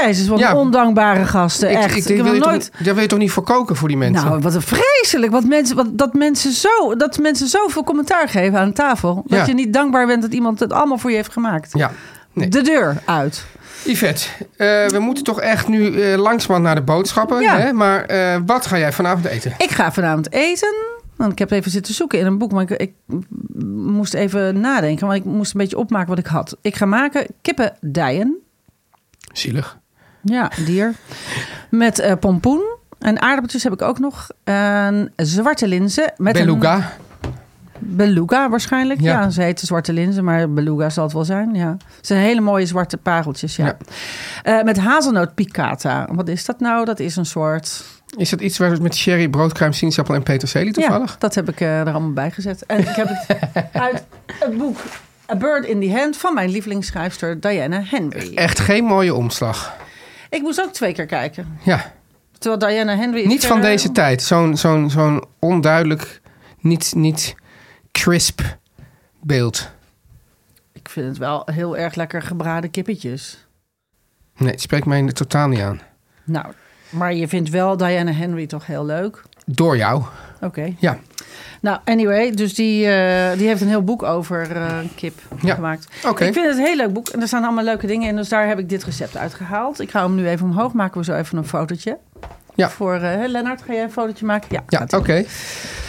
C: Jezus, wat
B: Ja.
C: ondankbare gasten.
B: Ik-
C: echt.
B: ik- wil
C: Ik, heb nog
B: je toch
C: nooit...
B: niet- daar wil je toch niet voor koken voor die mensen?
C: Nou, wat een vreselijk. Wat mensen, wat, dat, mensen zo, dat mensen zoveel commentaar geven aan tafel. Dat
B: Ja.
C: je niet dankbaar bent dat iemand het allemaal voor je heeft gemaakt.
B: ja. Nee.
C: De deur uit.
B: Yvette, eh, we moeten toch echt nu eh langzamerhand naar de boodschappen.
C: Ja.
B: Hè? Maar eh, wat ga jij vanavond eten?
C: Ik ga vanavond eten. Want ik heb even zitten zoeken in een boek. Maar ik, ik moest even nadenken. Want ik moest een beetje opmaken wat ik had. Ik ga maken kippendijen.
B: Zielig.
C: Ja, dier. Met eh, pompoen. En aardappeltjes heb ik ook nog. En zwarte linzen. Met een-
B: Beluga.
C: Beluga waarschijnlijk.
B: Ja.
C: Ja, ze heten zwarte linzen, maar beluga zal het wel zijn. Ja. Het zijn hele mooie zwarte pareltjes, ja.
B: Ja.
C: Eh, met hazelnoot piccata. Wat is dat nou? Dat is een soort...
B: Is dat iets waar we het met sherry, broodkruim, sinaasappel en peterselie toevallig?
C: Ja, dat heb ik eh, er allemaal bij gezet. En ik heb het uit het boek A Bird in the Hand van mijn lievelingsschrijfster Diana Henry.
B: Echt geen mooie omslag.
C: Ik moest ook twee keer kijken.
B: Ja,
C: Terwijl Diana Henry... is eh,
B: niet van
C: verder-
B: deze tijd. Zo'n zo'n zo'n onduidelijk, niet, niet crisp beeld.
C: Ik vind het wel heel erg lekker gebraden kippetjes.
B: Nee, het spreekt mij in totaal niet aan.
C: Nou, maar je vindt wel Diana Henry toch heel leuk?
B: Door jou.
C: Oké.
B: Ja.
C: Nou, anyway, dus die, eh, die heeft een heel boek over eh, kip
B: Ja.
C: gemaakt.
B: Oké.
C: Ik vind het een heel leuk boek en er staan allemaal leuke dingen in. Dus daar heb ik dit recept uitgehaald. Ik ga hem nu even omhoog maken. We zo even een fotootje.
B: Ja.
C: Voor eh, hè, Lennart, ga jij een fotootje maken? Ja,
B: Ja,
C: gaat
B: oké.
C: ie.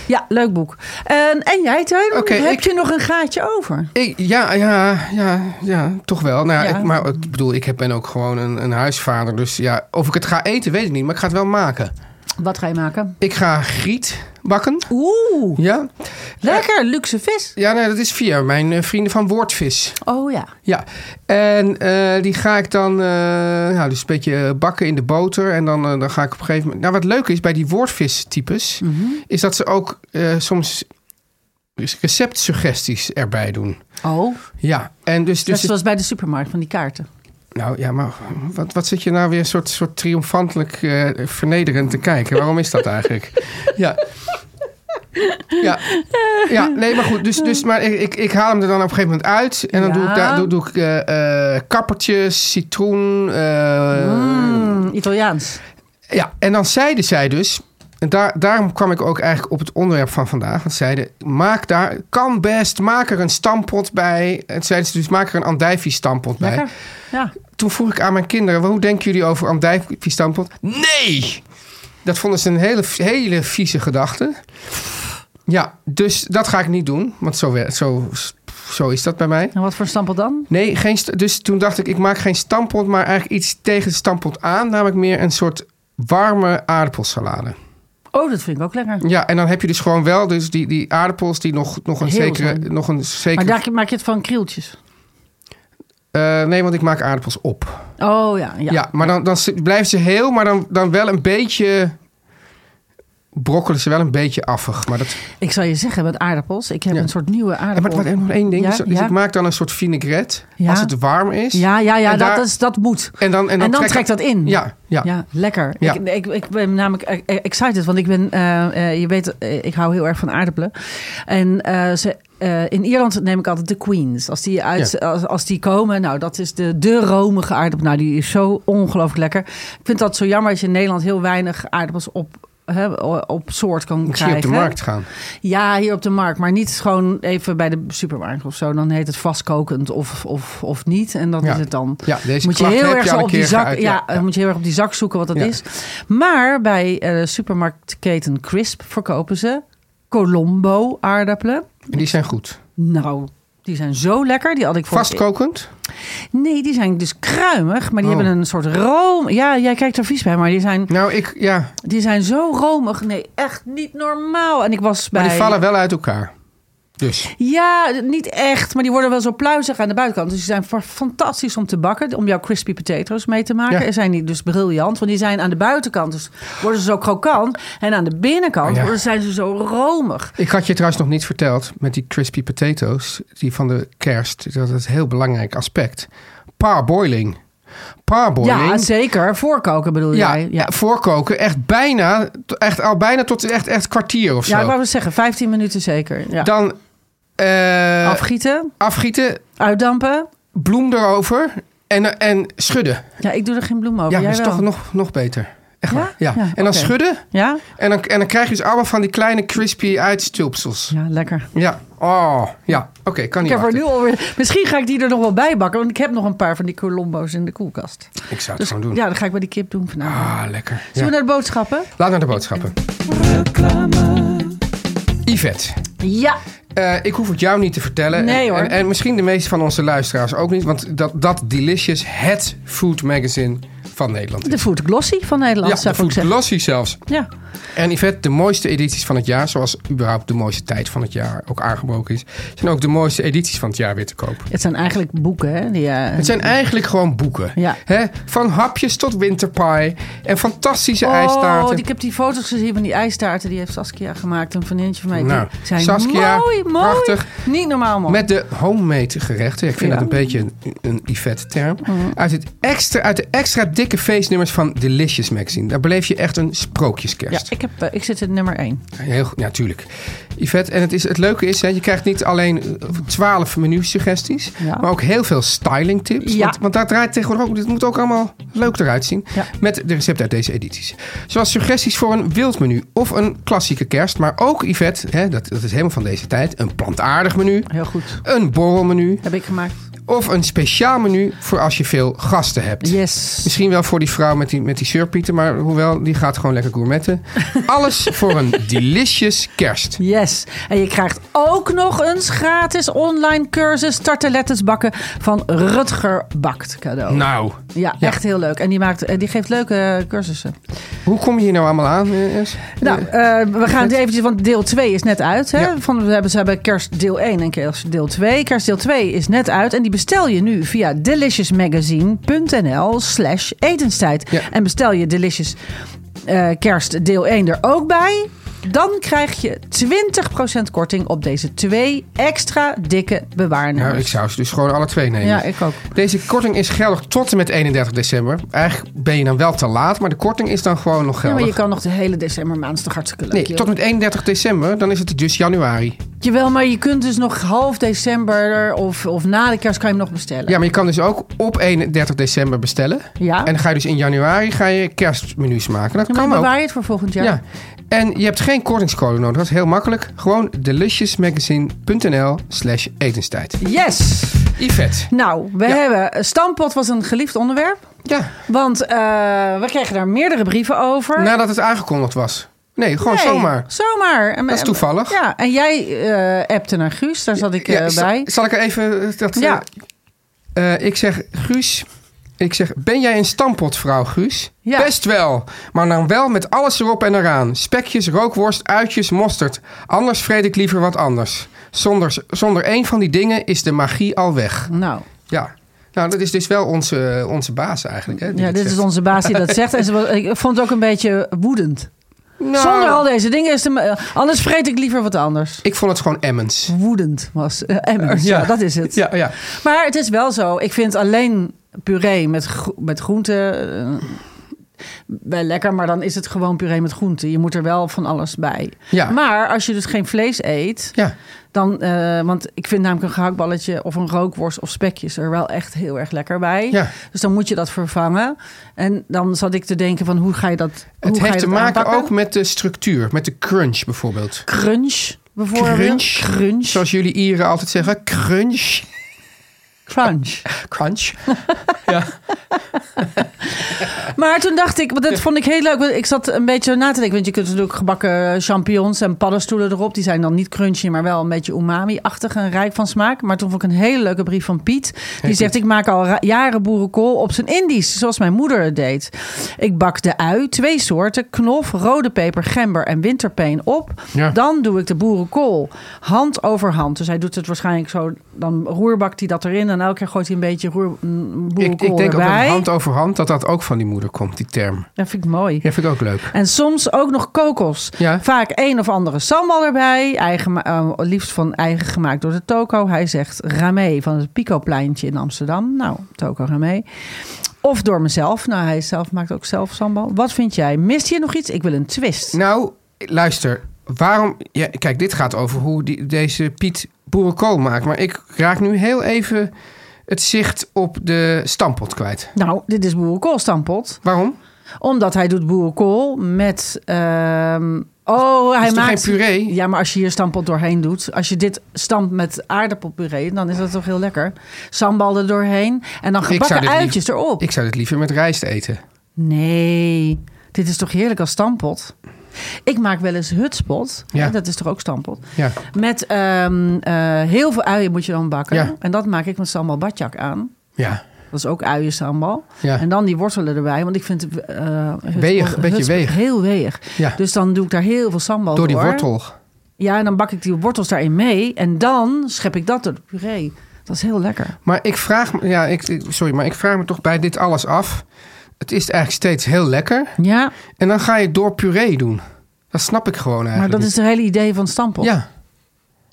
C: ja leuk boek. En, en jij, Teun,
B: Oké,
C: heb
B: ik-
C: je nog een gaatje over?
B: Ik, ja, ja, ja, ja, toch wel. Nou, ja,
C: Ja.
B: Ik, maar ik bedoel, ik heb- ben ook gewoon een, een huisvader. Dus ja, of ik het ga eten, weet ik niet. Maar ik ga het wel maken.
C: Wat ga je maken?
B: Ik ga griet bakken.
C: Oeh,
B: Ja,
C: lekker, luxe vis.
B: ja nee, dat is via mijn eh, vrienden van Woordvis.
C: Oh ja.
B: Ja, en eh, die ga ik dan eh, nou, dus een beetje bakken in de boter. En dan, eh, dan ga ik op een gegeven moment... Nou, wat leuk is bij die woordvistypes... is dat ze ook eh, soms dus receptsuggesties erbij doen.
C: Oh,
B: Ja, en dus...
C: net
B: dus
C: zoals bij de supermarkt van die kaarten.
B: Nou ja, maar wat, wat zit je nou weer een soort, soort triomfantelijk eh, vernederend te kijken? Waarom is dat eigenlijk? Ja. Ja. ja, nee, maar goed. Dus, dus, maar ik, ik, ik haal hem er dan op een gegeven moment uit. En dan doe ik,
C: Ja.
B: daar, doe, doe ik eh, eh, kappertjes, citroen. eh,
C: Mm, Italiaans.
B: Ja, en dan zeiden zij dus... En daar, daarom kwam ik ook eigenlijk op het onderwerp van vandaag. Want ze zeiden, maak daar, kan best, maak er een stampot bij. En toen zeiden ze dus, maak er een andijvie-stampot bij
C: Lekker. Ja.
B: toen vroeg ik aan mijn kinderen: hoe denken jullie over andijvie-stampot? Nee! Dat vonden ze een hele, hele vieze gedachte. Ja, dus dat ga ik niet doen, want zo, wer- zo, zo is dat bij mij.
C: En wat voor stampel dan?
B: Nee, geen, st- dus toen dacht ik: ik maak geen stampot, maar eigenlijk iets tegen de stampot aan. Namelijk meer een soort warme aardappelsalade.
C: Oh, dat vind ik ook lekker.
B: Ja, en dan heb je dus gewoon wel dus die, die aardappels die nog, nog een
C: Heel
B: zekere.
C: zijn.
B: Nog een zekere
C: Maar daar maak je het van krieltjes.
B: Eh, nee, want ik maak aardappels op.
C: Oh ja, ja.
B: Ja, maar dan, dan zit- blijven ze heel, maar dan, dan wel een beetje. brokkelen ze wel een beetje affig. Maar dat,
C: Ik zal je zeggen, met aardappels. Ik heb
B: Ja.
C: een soort nieuwe
B: en maar
C: aardappel.
B: wat, en nog één ding.
C: Ja,
B: is, dus
C: ja.
B: ik maak dan een soort vinaigrette.
C: Ja.
B: Als het warm is.
C: ja, ja, ja
B: En
C: dat,
B: daar-
C: is, dat moet.
B: En dan, en dan,
C: trekt dat in.
B: Ja, ja.
C: Ja, lekker.
B: Ja.
C: Ik, ik, ik ben namelijk eh, eh, excited, want ik ben, eh, eh, je weet, eh, ik hou heel erg van aardappelen. En eh, ze, eh, in Ierland neem ik altijd de Queens. Als die, uit, als, als die komen, nou, dat is de, de romige aardappel. Nou, die is zo ongelooflijk lekker. Ik vind dat zo jammer als je in Nederland heel weinig aardappels op, hè, op soort kan
B: Ik zie je
C: krijgen.
B: op de markt gaan.
C: Ja, hier op de markt. Maar niet gewoon even bij de supermarkt of zo. Dan heet het vastkokend of, of, of niet. En dat
B: Ja.
C: is het dan.
B: Ja, deze
C: moet je
B: klacht
C: heel
B: heb
C: erg
B: je
C: zo
B: al een
C: op die
B: keer
C: zak.
B: geuit,
C: ja,
B: ja.
C: dan moet je heel erg op die zak zoeken wat dat
B: Ja.
C: is. Maar bij eh supermarktketen Crisp verkopen ze Colombo aardappelen.
B: En die zijn goed.
C: Nou, die zijn zo lekker. Die had ik voor
B: Vastkokend.
C: Nee, die zijn dus kruimig. Maar die
B: Oh.
C: hebben een soort room. Ja, jij kijkt er vies bij. Maar die zijn,
B: Nou, ik, ja.
C: die zijn zo romig. Nee, echt niet normaal. En ik was bij...
B: Maar die vallen wel uit elkaar. Dus.
C: Ja, niet echt. Maar die worden wel zo pluizig aan de buitenkant. Dus die zijn fa- fantastisch om te bakken. Om jouw crispy potatoes mee te maken.
B: Ja.
C: En zijn die dus briljant. Want die zijn aan de buitenkant. Dus worden ze zo krokant. En aan de binnenkant
B: Oh Ja.
C: worden, zijn ze zo romig.
B: Ik had je trouwens nog niet verteld met die crispy potatoes, die van de kerst. Dat is een heel belangrijk aspect. Parboiling. Parboiling.
C: Ja, zeker. Voorkoken bedoel
B: Ja,
C: jij. Ja,
B: voorkoken. Echt bijna, echt al bijna tot echt, echt kwartier of zo.
C: ja ik wou het zeggen. 15 minuten zeker. Ja.
B: Dan eh,
C: Afgieten.
B: afgieten,
C: Uitdampen.
B: bloem erover en, en schudden.
C: Ja, ik doe er geen bloem over.
B: ja,
C: Jij
B: dat is
C: wel.
B: toch nog, nog beter. Echt
C: Ja?
B: waar. Ja.
C: Ja,
B: en dan
C: oké.
B: schudden
C: Ja?
B: en dan, en dan krijg je dus allemaal van die kleine crispy uitstulpsels. Ja.
C: Ja, lekker.
B: Oh, ja. Oké, kan
C: Ik
B: niet
C: heb er
B: wachten.
C: nu alweer... Misschien ga ik die er nog wel bij bakken. Want ik heb nog een paar van die Colombo's in de koelkast.
B: Ik zou het
C: Dus,
B: gewoon doen.
C: ja, dat ga ik bij die kip doen vanavond.
B: Ah, lekker. Ja.
C: Zullen we naar de boodschappen?
B: Laat naar de boodschappen. Yvette.
C: Ja.
B: Eh, ik hoef het jou niet te vertellen.
C: Nee,
B: En-
C: hoor.
B: En, en misschien de meeste van onze luisteraars ook niet. Want dat, dat Delicious het food magazine van Nederland
C: De
B: is.
C: Food Glossy van Nederland,
B: ja,
C: zou
B: de
C: ik ook
B: Food
C: zeggen.
B: Glossy zelfs.
C: Ja.
B: En Yvette, de mooiste edities van het jaar, zoals überhaupt de mooiste tijd van het jaar ook aangebroken is, zijn ook de mooiste edities van het jaar weer te koop.
C: Het zijn eigenlijk boeken, hè? Die, eh,
B: Het zijn eigenlijk gewoon boeken.
C: Ja.
B: Hè? Van hapjes tot winterpie en fantastische
C: Oh,
B: ijstaarten.
C: ik heb die foto's gezien van die ijstaarten. Die heeft Saskia gemaakt, een vriendinnetje van mij. Die
B: Nou,
C: zijn
B: Saskia,
C: mooi, mooi.
B: prachtig.
C: Niet normaal, man.
B: Met de homemade gerechten. Ik vind
C: Ja. Mhm.
B: dat een beetje een, een Yvette-term. Uit, het extra- uit de extra dikke feestnummers van Delicious Magazine. Daar beleef je echt een
C: Ja,
B: sprookjeskerst.
C: ik, heb, eh, ik zit in nummer 1.
B: Heel goed, ja, tuurlijk. Yvette, en het, is, het leuke is, hè, je krijgt niet alleen twaalf menu-suggesties,
C: Ja.
B: maar ook heel veel styling-tips.
C: Ja.
B: Want, want daar draait tegenwoordig ook, dit moet ook allemaal leuk eruit zien.
C: Ja.
B: Met de recepten uit deze edities. Zoals suggesties voor een wild menu of een klassieke kerst, maar ook Yvette, hè, dat, dat is helemaal van deze tijd, een plantaardig menu,
C: Heel goed.
B: een borrelmenu
C: Heb ik gemaakt.
B: of een speciaal menu voor als je veel gasten hebt.
C: Yes.
B: Misschien wel voor die vrouw met die, met die surpieten, maar hoewel, die gaat gewoon lekker gourmetten. Alles voor een delicious kerst.
C: Yes. En je krijgt ook nog eens gratis online cursus tartelettes bakken van Rutger Bakt cadeau.
B: Nou,
C: ja,
B: ja.
C: echt heel leuk. En die, maakt, eh, die geeft leuke eh, cursussen.
B: hoe kom je hier nou allemaal aan? eh, Els?
C: Nou,
B: Eh,
C: eh, we gaan het eventjes, want deel 2 is net uit. Hè?
B: Ja.
C: Van, we, hebben, ze hebben kerst deel 1 en kerst deel 2. Kerst deel 2 is net uit en die bestel je nu via deliciousmagazine.nl slash etenstijd.
B: Ja.
C: En bestel je Delicious eh, kerst deel 1 er ook bij... Dan krijg je 20% korting op deze twee extra dikke
B: nou, ik
C: bewaarnummers.
B: zou ze dus gewoon alle twee nemen.
C: Ja, ik ook.
B: Deze korting is geldig tot en met 31 december. Eigenlijk ben je dan wel te laat, maar de korting is dan gewoon nog
C: Ja,
B: geldig.
C: maar je kan nog de hele decembermaand, is toch hartstikke leuk.
B: Nee,
C: joh.
B: tot en met 31 december, dan is het dus januari.
C: Jawel, maar je kunt dus nog half december of, of na de kerst kan je hem nog bestellen.
B: Ja, maar je kan dus ook op 31 december bestellen.
C: Ja.
B: En dan ga je dus in januari ga je kerstmenu's maken. Dat
C: Ja, maar
B: kan ook.
C: bewaar je het voor volgend jaar.
B: Ja. En je hebt geen kortingscode nodig. Dat is heel makkelijk. Gewoon deliciousmagazine.nl slash etenstijd.
C: Yes!
B: Yvette.
C: Nou, we
B: Ja.
C: hebben... Stampot was een geliefd onderwerp.
B: Ja,
C: Want eh, we kregen daar meerdere brieven over.
B: nadat het aangekondigd was. Nee, Nou, gewoon
C: Nee,
B: zomaar.
C: Zomaar. En-
B: Dat is
C: en-
B: toevallig.
C: Ja, en jij eh, appte naar Guus. Daar zat ik eh,
B: Ja, zal-
C: bij.
B: Zal ik er even... eh, Dat,
C: Ja.
B: eh, eh, ik zeg, Guus... Ik zeg, ben jij een stampotvrouw, Guus?
C: Ja.
B: Best wel. Maar dan wel met alles erop en eraan. Spekjes, rookworst, uitjes, mosterd. Anders vreet ik liever wat anders. Zonder, zonder één van die dingen is de magie al weg.
C: Nou,
B: Ja. Nou, dat is dus wel onze, onze baas eigenlijk. Hè, die
C: ja,
B: dit
C: dit is
B: zegt.
C: onze baas die dat zegt. En ze was- ik vond het ook een beetje woedend.
B: Nou,
C: Zonder al deze dingen is het... me- Anders vreet ik liever wat anders.
B: Ik vond het gewoon Emmens.
C: Woedend was. eh, Emmons, ja. dat is het.
B: Ja, ja.
C: Maar het is wel zo. Ik vind alleen puree met, gro- met groenten eh, wel lekker. Maar dan is het gewoon puree met groenten. Je moet er wel van alles bij.
B: Ja.
C: Maar als je dus geen vlees eet,
B: ja.
C: dan... eh, want ik vind namelijk een gehaktballetje of een rookworst of spekjes er wel echt heel erg lekker bij.
B: Ja.
C: Dus dan moet je dat vervangen. En dan zat ik te denken van hoe ga je dat hoe
B: Het
C: ga je
B: heeft te
C: dat
B: maken
C: aanpakken?
B: ook met de structuur, met de crunch bijvoorbeeld.
C: Crunch bijvoorbeeld.
B: Crunch.
C: Crunch.
B: Zoals jullie Ieren altijd zeggen, crunch.
C: Crunch.
B: Crunch.
C: Maar toen dacht ik, want dat vond ik heel leuk. want Ik zat een beetje na te denken. Want je kunt natuurlijk gebakken champignons en paddenstoelen erop. Die zijn dan niet crunchy, maar wel een beetje umami-achtig en rijk van smaak. Maar toen vond ik een hele leuke brief van Piet. Die zegt, ik maak al ra- jaren boerenkool op zijn Indisch. Zoals mijn moeder het deed. Ik bak de ui, twee soorten. Knof, rode peper, gember en winterpeen op.
B: Ja.
C: Dan doe ik de boerenkool hand over hand. Dus hij doet het waarschijnlijk zo. Dan roerbakt hij dat erin. En elke keer gooit hij een beetje roer, mm,
B: Ik,
C: boerenkool
B: ik denk ook dat
C: erbij.
B: hand over hand dat dat ook van die moeder komt, die term.
C: Dat vind ik mooi.
B: Ja, vind ik ook leuk.
C: En soms ook nog kokos.
B: Ja.
C: Vaak een of andere sambal erbij. Eigen, eh, liefst van eigen gemaakt door de toko. Hij zegt Ramé van het Pico-pleintje in Amsterdam. Nou, toko Ramé. Of door mezelf. Nou, hij zelf maakt ook zelf sambal. Wat vind jij? Mist je nog iets? Ik wil een twist.
B: Nou, luister. Waarom... Ja, kijk, dit gaat over hoe die, deze Piet boerenkool maakt. Maar ik raak nu heel even het zicht op de stampot kwijt.
C: Nou, dit is boerenkoolstampot.
B: Waarom?
C: Omdat hij doet boerenkool met... ehm, oh, hij
B: is toch
C: maakt...
B: geen puree?
C: Ja, maar als je hier stampot doorheen doet... Als je dit stampt met aardappelpuree... dan is dat toch heel lekker. Sambal er doorheen. En dan
B: Ik zou
C: gebakken
B: dit liever-
C: uitjes erop.
B: Ik zou dit liever met rijst eten.
C: Nee, dit is toch heerlijk als stampot? Ik maak wel eens hutspot.
B: Ja.
C: Hè, Dat is toch ook stampot?
B: Ja.
C: Met ehm, eh, heel veel uien moet je dan bakken.
B: Ja.
C: En dat maak ik met sambal badjak aan.
B: Ja.
C: Dat is ook uiensambal.
B: Ja.
C: En dan die wortelen erbij. Want ik vind het... eh, hutspot-
B: Weeg, een beetje
C: hutspot
B: weeg.
C: Heel weeg.
B: Ja.
C: Dus dan doe ik daar heel veel sambal
B: Door die
C: voor.
B: wortel.
C: Ja, en dan bak ik die wortels daarin mee. En dan schep ik dat door de puree. Dat is heel lekker.
B: Maar ik vraag me, ja, ik, ik- sorry, maar ik vraag me toch bij dit alles af. Het is eigenlijk steeds heel lekker.
C: Ja,
B: En dan ga je het door puree doen. Dat snap ik gewoon
C: maar
B: eigenlijk.
C: dat is het hele idee van stampot.
B: niet. Ja.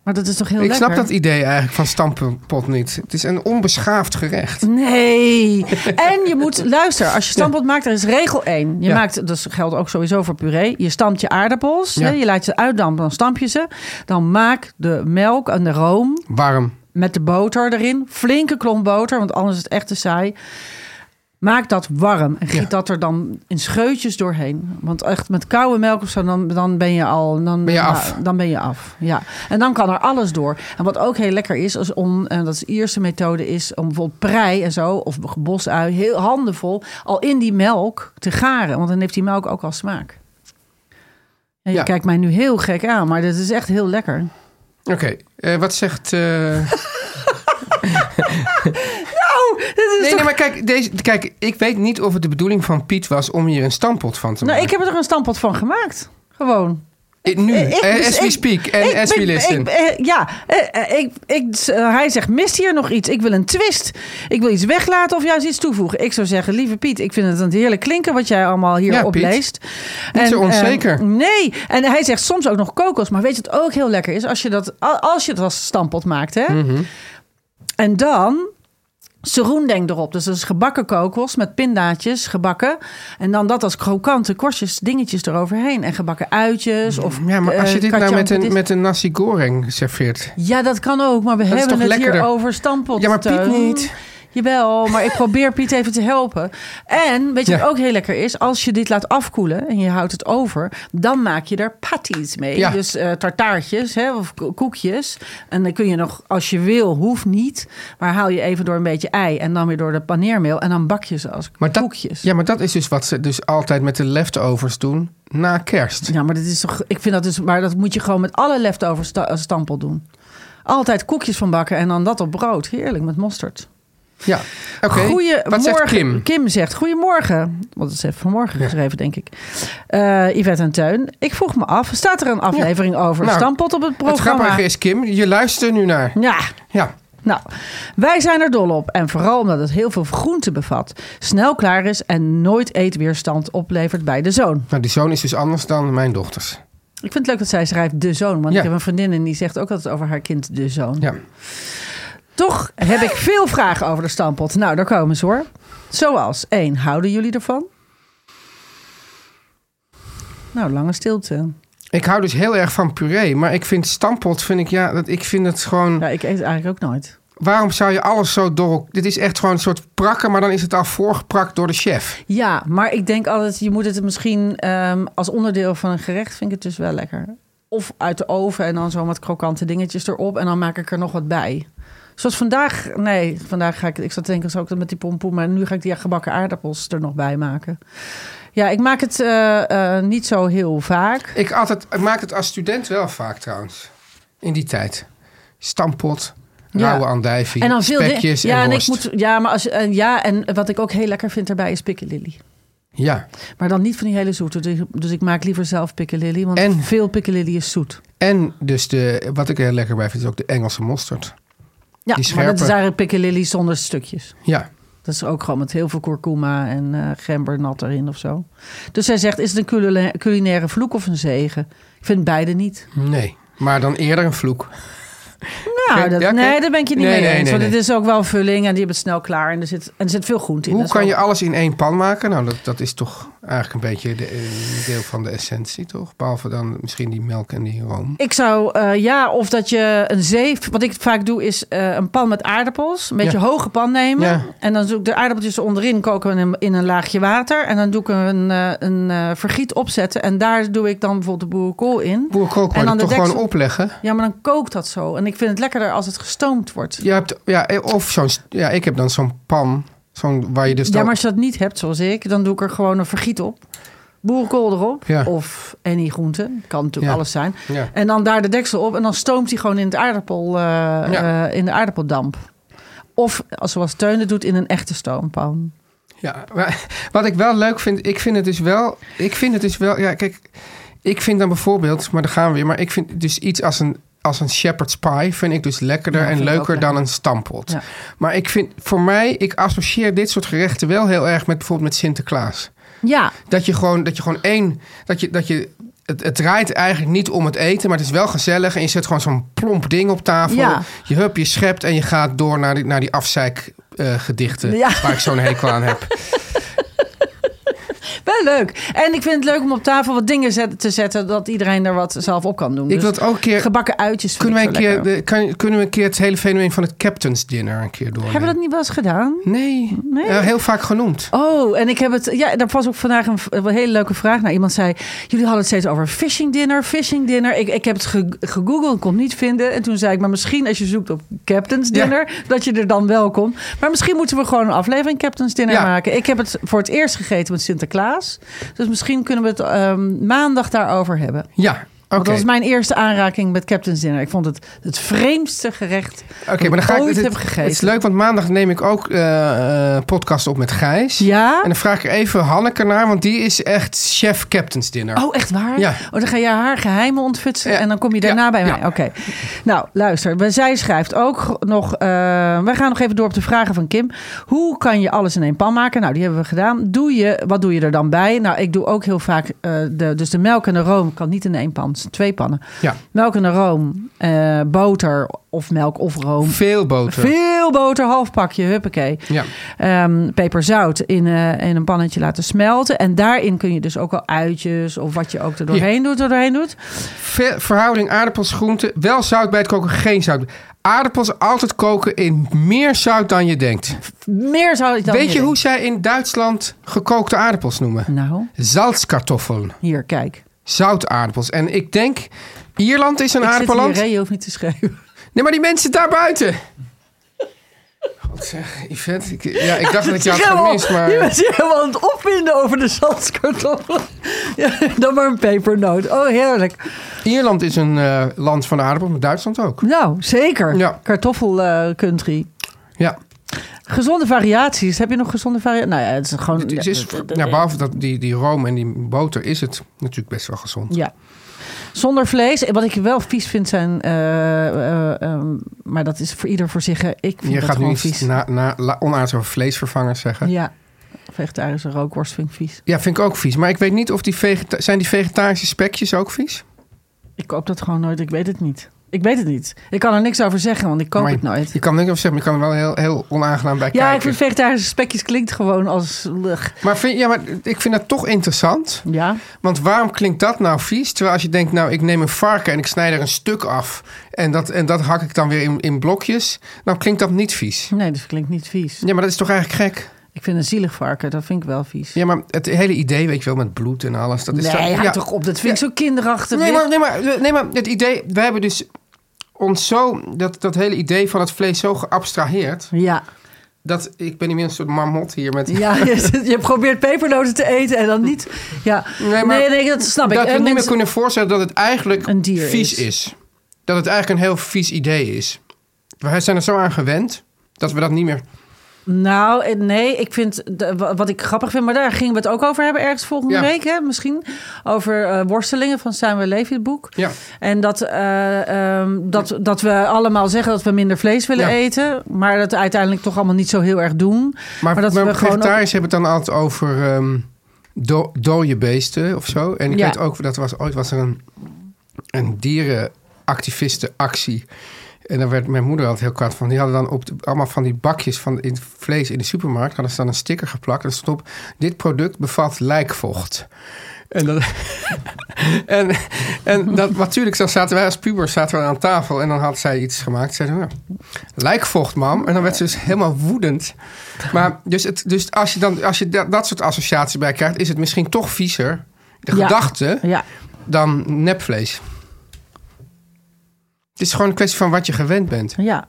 C: Maar dat is toch heel
B: Ik
C: lekker?
B: snap dat idee eigenlijk van stamppot niet. Het is een onbeschaafd gerecht.
C: Nee. En je moet, luister, als je stamppot maakt, er is regel 1. Je
B: Ja.
C: maakt, dat geldt ook sowieso voor puree. Je stampt je aardappels,
B: Ja.
C: hè, je laat ze uitdampen, dan stamp je ze. Dan maak de melk en de room
B: Warm.
C: met de boter erin. Flinke klomp boter, want anders is het echt te saai. Maak dat warm en giet
B: Ja.
C: dat er dan in scheutjes doorheen. Want echt met koude melk of zo, dan, dan ben je al... Dan
B: Ben je
C: ja,
B: af.
C: Dan ben je af, ja. En dan kan er alles door. En wat ook heel lekker is, is om, en dat is de eerste methode... is om bijvoorbeeld prei en zo, of bosui, heel handenvol... al in die melk te garen. Want dan heeft die melk ook al smaak. En je
B: Ja.
C: kijkt mij nu heel gek aan, maar dit is echt heel lekker.
B: Oké, eh, wat zegt... eh,
C: Oh, dit is
B: Nee, nee, maar kijk, deze, kijk, ik weet niet of het de bedoeling van Piet was om hier een stampot van te
C: Nou,
B: maken.
C: ik heb er een stampot van gemaakt. Gewoon.
B: Ik- nu,
C: Eh, ik-
B: eh,
C: dus
B: as we
C: ik-
B: speak en
C: ik-
B: as we
C: ik-
B: listen.
C: ik- eh, Ja, eh, eh, ik, ik, s- eh, hij zegt, mist hier nog iets? Ik wil een twist. Ik wil iets weglaten of juist iets toevoegen. Ik zou zeggen, lieve Piet, ik vind het een heerlijk klinken wat jij allemaal hier
B: Ja, Piet.
C: opleest.
B: Niet zo
C: eh,
B: onzeker.
C: nee, en hij zegt soms ook nog kokos. Maar weet je wat ook heel lekker is? Als je dat, al- als je dat als stampot maakt, hè?
B: Mhm.
C: En dan seroendeng erop. Dus dat is gebakken kokos met pindaatjes gebakken. En dan dat als krokante korstjes, dingetjes eroverheen. En gebakken uitjes of
B: Mm, ja, maar als je
C: eh,
B: dit nou
C: kacang
B: met een,
C: petit-
B: met een nasi goreng serveert.
C: Ja, dat kan ook, maar we
B: is
C: hebben
B: toch
C: het hier
B: lekkerder?
C: over stampot.
B: Ja, maar Piet
C: Teun.
B: niet.
C: Jawel, maar ik probeer Piet even te helpen. En weet je
B: Ja.
C: wat ook heel lekker is? Als je dit laat afkoelen en je houdt het over, dan maak je er patties mee.
B: Ja.
C: Dus eh, tartaartjes hè, of ko- koekjes. En dan kun je nog, als je wil, hoeft niet. Maar haal je even door een beetje ei en dan weer door de paneermeel. En dan bak je ze als
B: Maar dat,
C: koekjes.
B: Ja, maar dat is dus wat ze dus altijd met de leftovers doen na kerst.
C: Ja, maar dit is toch. Ik vind dat dus. Maar dat moet je gewoon met alle leftovers sta- eh, stampel doen. Altijd koekjes van bakken en dan dat op brood. Heerlijk met mosterd.
B: Ja, oké.
C: Goedemorgen.
B: Wat zegt Kim?
C: zegt, goedemorgen. Want dat is even vanmorgen geschreven, denk ik. Eh Yvette en Teun, ik vroeg me af, staat er een aflevering over
B: Nou,
C: stampot op het
B: Het
C: programma?
B: grappige is, Kim, je luistert nu naar.
C: Ja,
B: Ja,
C: nou, wij zijn er dol op. En vooral omdat het heel veel groente bevat. Snel klaar is en nooit eetweerstand oplevert bij de zoon.
B: nou, die zoon is dus anders dan mijn dochters.
C: Ik vind het leuk dat zij schrijft de zoon. Want
B: Ja.
C: ik heb een vriendin en die zegt ook altijd over haar kind de zoon.
B: Ja.
C: Toch heb ik veel vragen over de stampot. Nou, daar komen ze hoor. Zoals, één, houden jullie ervan? Nou, lange stilte.
B: Ik hou dus heel erg van puree, maar ik vind stampot, vind ik, ja, dat, ik vind het gewoon...
C: Ja, ik eet eigenlijk ook nooit.
B: Waarom zou je alles zo door... Dit is echt gewoon een soort prakken, maar dan is het al voorgeprakt door de chef.
C: Ja, maar ik denk altijd, je moet het misschien ehm, als onderdeel van een gerecht, vind ik het dus wel lekker. Of uit de oven en dan zo wat krokante dingetjes erop en dan maak ik er nog wat bij. Zoals vandaag, nee, vandaag ga ik, ik zat te denken, zou ik dat met die pompoen, maar nu ga ik die gebakken aardappels er nog bij maken. Ja, ik maak het eh, eh, niet zo heel vaak.
B: Ik, altijd, ik maak het als student wel vaak trouwens, in die tijd. Stampot,
C: Ja.
B: rauwe andijvie,
C: di-
B: spekjes
C: ja,
B: en
C: en ik
B: worst.
C: moet, ja, maar als, en ja, en wat ik ook heel lekker vind daarbij is piccadilly.
B: Ja,
C: Maar dan niet van die hele zoete. Dus, dus ik maak liever zelf piccadilly, want
B: En-
C: veel piccadilly is zoet.
B: en dus de, wat ik er heel lekker bij vind, is ook de Engelse mosterd.
C: Ja,
B: Die
C: maar dat is
B: scherpe.
C: eigenlijk piccadilly zonder stukjes.
B: Ja,
C: Dat is ook gewoon met heel veel kurkuma en eh gembernat erin of zo. Dus zij zegt, is het een culi- culinaire vloek of een zegen? Ik vind beide niet.
B: nee. Maar dan eerder een vloek.
C: Nou,
B: Oké,
C: dat,
B: ja, oké.
C: nee, daar ben ik je niet
B: Nee,
C: mee
B: nee,
C: eens.
B: nee,
C: want
B: nee.
C: het is ook wel vulling en die hebben het snel klaar. En er zit, en er zit veel groente in.
B: Hoe
C: Dat is
B: kan
C: wel-
B: je alles in één pan maken? Nou, dat, dat is toch eigenlijk een beetje de, eh, deel van de essentie, toch? Behalve dan misschien die melk en die room.
C: Ik zou, eh, ja, of dat je een zeef... Wat ik vaak doe is eh, een pan met aardappels. Een beetje
B: Ja.
C: hoge pan nemen.
B: Ja.
C: En dan doe ik de aardappeltjes onderin koken in een, in een laagje water. En dan doe ik een, eh, een eh, vergiet opzetten. En daar doe ik dan bijvoorbeeld de boerenkool in.
B: Boerenkool kan
C: En
B: je
C: dan
B: toch
C: de
B: gewoon
C: deksel-
B: opleggen?
C: Ja, maar dan kookt dat zo. En ik vind het lekkerder als het gestoomd wordt.
B: Je hebt, ja, eh, of zo'n... st- Ja, ik heb dan zo'n pan zo'n, waar je dus...
C: Ja,
B: dan-
C: maar als je dat niet hebt, zoals ik, dan doe ik er gewoon een vergiet op. Boerenkool erop.
B: Ja.
C: Of any groente. Kan natuurlijk
B: Ja.
C: alles zijn.
B: Ja.
C: En dan daar de deksel op. En dan stoomt hij gewoon in, het aardappel, eh,
B: Ja.
C: eh, in de aardappeldamp. Of als zoals Teun het doet, in een echte stoompan.
B: Ja, maar wat ik wel leuk vind, ik vind het dus wel... Ik vind het dus wel... Ja, kijk, ik vind dan bijvoorbeeld... Maar daar gaan we weer. Maar ik vind dus iets als een, als een shepherd's pie... vind ik dus lekkerder
C: Ja,
B: en
C: vind ik ook
B: leuker dan
C: lekker.
B: een stampot.
C: Ja.
B: Maar ik vind, voor mij, ik associeer dit soort gerechten wel heel erg met bijvoorbeeld met Sinterklaas.
C: Ja,
B: Dat je gewoon, dat je gewoon één, dat je, dat je het, het draait eigenlijk niet om het eten, maar het is wel gezellig. En je zet gewoon zo'n plomp ding op tafel.
C: Ja.
B: Je hup, je schept en je gaat door naar die, naar die afzeikgedichten.
C: Ja.
B: Waar ik zo'n hekel aan heb.
C: Wel leuk. En ik vind het leuk om op tafel wat dingen zet- te zetten... dat iedereen er wat zelf op kan doen. Dus
B: Ik wil het ook een keer...
C: Gebakken uitjes vind
B: Kunnen we,
C: ik
B: een
C: zo
B: keer
C: lekker.
B: de, kan- kunnen we een keer het hele fenomeen van het Captain's Dinner een keer doornemen?
C: Hebben we dat niet wel eens gedaan?
B: Nee,
C: Nee?
B: Eh, heel vaak genoemd.
C: Oh, en ik heb het. Ja, daar was ook vandaag een, v- een hele leuke vraag naar. Iemand zei: Jullie hadden het steeds over phishing dinner, phishing dinner. Ik, ik heb het ge- gegoogeld, kon het niet vinden. En toen zei ik: Maar misschien als je zoekt op Captain's
B: Ja.
C: Dinner, dat je er dan wel komt. Maar misschien moeten we gewoon een aflevering Captain's Dinner
B: Ja.
C: maken. Ik heb het voor het eerst gegeten met Sinterklaas. Dus misschien kunnen we het ehm, maandag daarover hebben.
B: Ja, oké.
C: Want dat was mijn eerste aanraking met Captain's Dinner. Ik vond het het vreemdste gerecht.
B: Oké, maar dan ga ik
C: ooit
B: dit-
C: heb gegeten.
B: Het is leuk, want maandag neem ik ook eh, eh, podcast op met Gijs.
C: Ja.
B: En dan vraag ik even Hanneke naar, want die is echt chef Captain's Dinner.
C: Oh, echt waar?
B: Ja.
C: Oh, dan ga je haar geheimen ontfutselen
B: Ja.
C: en dan kom je daarna
B: Ja,
C: bij mij.
B: ja.
C: Oké. Nou, luister. we- Zij schrijft ook g- nog... eh wij gaan nog even door op de vragen van Kim. Hoe kan je alles in één pan maken? Nou, die hebben we gedaan. Doe je, wat doe je er dan bij? Nou, ik doe ook heel vaak... eh, de, dus de melk en de room kan niet in één pan. Het zijn twee pannen.
B: Ja,
C: Melk en de room, eh, boter of melk of room.
B: veel boter.
C: Veel boter, half pakje, huppakee.
B: Ja.
C: Ehm, peperzout in, eh, in een pannetje laten smelten. En daarin kun je dus ook al uitjes of wat je ook er doorheen doet, er doorheen doet.
B: Ve- verhouding aardappels, groenten. Wel zout bij het koken, geen zout. Aardappels altijd koken in meer zout dan je denkt.
C: Meer zou ik dan
B: Weet
C: niet
B: je hoe
C: doen.
B: zij in Duitsland gekookte aardappels noemen?
C: Nou,
B: Zalzkartoffel.
C: hier, kijk.
B: Zoutaardappels. En ik denk, Ierland is een
C: Ik zit hier,
B: aardappelland.
C: hè, je hoeft niet te schrijven.
B: Nee, maar die mensen daar buiten. God zeg, Yvette. Ik, ja, ik dacht dat ik
C: Je
B: jou had gemist, maar...
C: je bent hier helemaal aan het opwinden over de zaltskartoffelen. Ja, dan maar een pepernoot. Oh, heerlijk.
B: Ierland is een eh, land van de aardappel, maar Duitsland ook.
C: Nou, zeker.
B: Ja.
C: Kartoffel eh, country.
B: Ja,
C: Gezonde variaties. Heb je nog gezonde variaties? Nou ja, het is gewoon...
B: het is, ja, behalve dat, die, die room en die boter is het natuurlijk best wel gezond.
C: Ja. Zonder vlees. En Wat ik wel vies vind zijn... eh, eh, ehm, maar dat is voor ieder voor zich. hè. Ik vind
B: Je
C: dat
B: gaat nu
C: gewoon
B: iets
C: vies.
B: na, na, la- onaards over vleesvervangers zeggen. Ja.
C: Ja. Vegetarische rookworst vind ik vies.
B: vind ik ook vies. Maar ik weet niet of die vegeta- zijn die vegetarische spekjes ook vies?
C: Ik koop dat gewoon nooit. Ik weet het niet. Ik weet het niet. Ik kan er niks over zeggen, want ik koop
B: Maar
C: het nooit.
B: Je kan er niet over zeggen, maar je kan er wel heel, heel onaangenaam bij
C: Ja, ik
B: kijken.
C: vind vegetarische spekjes klinkt gewoon als... Ugh.
B: Maar, vind, ja, maar ik vind dat toch interessant.
C: Ja.
B: Want waarom klinkt dat nou vies? Terwijl als je denkt, nou, ik neem een varken en ik snijd er een stuk af. En dat, en dat hak ik dan weer in, in blokjes. Nou, klinkt dat niet vies.
C: Nee, dat klinkt niet vies.
B: Ja, maar dat is toch eigenlijk gek?
C: Ik vind een zielig varken. Dat vind ik wel vies.
B: Ja, maar het hele idee, weet je wel, met bloed en alles. Dat is
C: nee,
B: toch,
C: houd
B: ja.
C: toch op. Dat vind ik zo kinderachtig.
B: Nee
C: weer.
B: maar, nee, maar, nee, maar het idee, we hebben dus ons zo, dat, dat hele idee van het vlees zo geabstraheerd.
C: Ja.
B: Dat ik ben inmiddels een soort marmot hier met.
C: Ja, je, je probeert pepernoten te eten en dan niet. Ja, nee,
B: Nee, maar-
C: nee, dat snap ik.
B: dat we
C: En
B: niet meer
C: mensen-
B: kunnen voorstellen dat het eigenlijk
C: Een dier
B: vies
C: is.
B: is. Dat het eigenlijk een heel vies idee is. Wij zijn er zo aan gewend dat we dat niet meer.
C: Nou, eh, nee, ik vind de- wa- wat ik grappig vind, maar daar gingen we het ook over hebben ergens volgende
B: Ja.
C: week, hè, misschien. Over eh, worstelingen van Samuel Levy, het boek.
B: Ja.
C: En dat, eh, ehm, dat, dat we allemaal zeggen dat we minder vlees willen
B: Ja.
C: eten, maar dat uiteindelijk toch allemaal niet zo heel erg doen.
B: Maar,
C: dat
B: maar
C: we gewoon. ook-
B: vegetariërs hebben het dan altijd over ehm do- dode beesten of zo. En ik
C: Ja.
B: weet ook, dat was ooit was er een, een dierenactivistenactie. En daar werd mijn moeder altijd heel kwaad van. Die hadden dan op de- allemaal van die bakjes van in het vlees in de supermarkt... hadden ze dan een sticker geplakt. En er stond op, dit product bevat lijkvocht. En, dat, en, en dat, natuurlijk dan zaten wij als pubers zaten we aan tafel. En dan had zij iets gemaakt. Zeiden we, nou, lijkvocht, mam. En dan werd ze dus helemaal woedend. Maar dus, het, dus als je, dan, als je da- dat soort associaties bij krijgt... is het misschien toch viezer, de
C: Ja.
B: gedachte,
C: Ja,
B: dan nepvlees. Het is gewoon een kwestie van wat je gewend bent.
C: ja.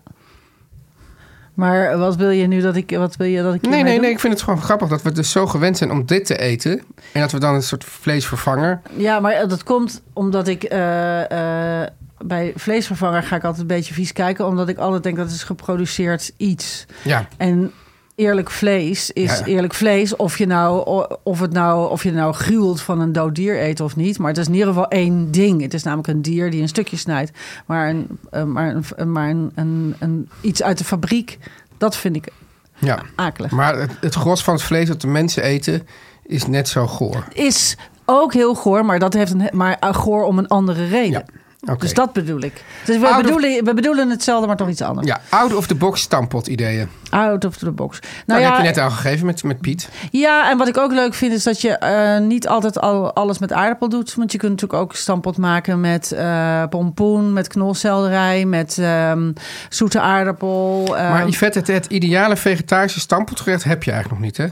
C: Maar wat wil je nu dat ik. Wat wil je dat ik
B: Nee,
C: hiermee
B: nee,
C: doe?
B: nee. Ik vind het gewoon grappig dat we dus zo gewend zijn om dit te eten. En dat we dan een soort vleesvervanger...
C: Ja, maar eh, dat komt omdat ik eh, eh, bij vleesvervanger ga ik altijd een beetje vies kijken, omdat ik altijd denk dat is geproduceerd iets.
B: Ja,
C: En eerlijk vlees is
B: Ja.
C: eerlijk vlees, of je nou o- of het nou of je nou gruwelt van een dood dier eet of niet. Maar het is in ieder geval één ding. Het is namelijk een dier die een stukje snijdt, maar een, eh, maar een, maar een, een, een- iets uit de fabriek. Dat vind ik
B: ja.
C: akelig.
B: Maar het, het gros van het vlees dat de mensen eten is net zo goor.
C: is ook heel goor, maar dat heeft een, maar eh, goor om een andere reden.
B: oké.
C: Dus dat bedoel ik. Dus we,
B: Out of-
C: bedoelen, we bedoelen hetzelfde, maar toch iets anders.
B: Ja, out of the box stampot ideeën.
C: Out of the box.
B: Nou,
C: Nou ja, Ehm.
B: dat heb je net al gegeven met, met Piet.
C: Ja, en wat ik ook leuk vind is dat je eh, niet altijd al, alles met aardappel doet. Want je kunt natuurlijk ook stampot maken met eh, pompoen, met knolselderij, met ehm, zoete aardappel. eh,
B: maar Yvette, het, het ideale vegetarische stampotgerecht heb je eigenlijk nog niet, hè?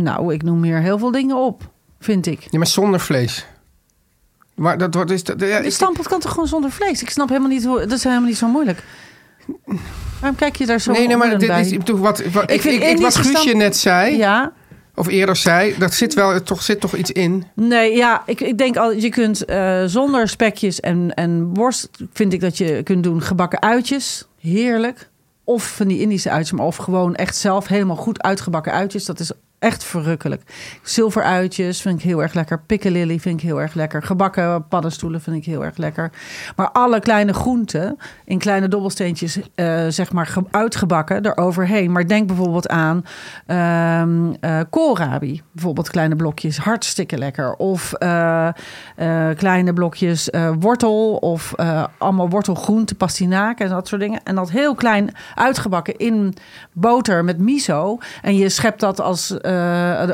C: Nou, ik noem hier heel veel dingen op, vind ik.
B: Ja, maar zonder vlees. Maar dat wordt... Is, dat, ja,
C: Een
B: ik-
C: stampot kan toch gewoon zonder vlees? Ik snap helemaal niet hoe... Dat is helemaal niet zo moeilijk. Waarom kijk je daar zo
B: nee, nee, maar
C: ophoudend
B: dit is, ik
C: bij?
B: bedoel, wat, wat, ik
C: vind
B: ik, ik, wat
C: Indische
B: Guusje
C: stamp-
B: net zei,
C: Ja,
B: of eerder zei, dat zit wel, er toch, zit toch iets in.
C: Nee, ja, ik, ik denk al, je kunt eh, zonder spekjes en, en worst, vind ik dat je kunt doen gebakken uitjes. Heerlijk. Of van die Indische uitjes, maar of gewoon echt zelf helemaal goed uitgebakken uitjes. Dat is echt verrukkelijk. Zilveruitjes vind ik heel erg lekker. Piccalilli vind ik heel erg lekker. Gebakken paddenstoelen vind ik heel erg lekker. Maar alle kleine groenten in kleine dobbelsteentjes, eh, zeg maar, ge- uitgebakken eroverheen. Maar denk bijvoorbeeld aan ehm eh, koolrabi. Bijvoorbeeld kleine blokjes, hartstikke lekker. Of eh, eh, kleine blokjes eh, wortel of eh, allemaal wortelgroente, pastinaken en dat soort dingen. En dat heel klein uitgebakken in boter met miso. En je schept dat als, eh,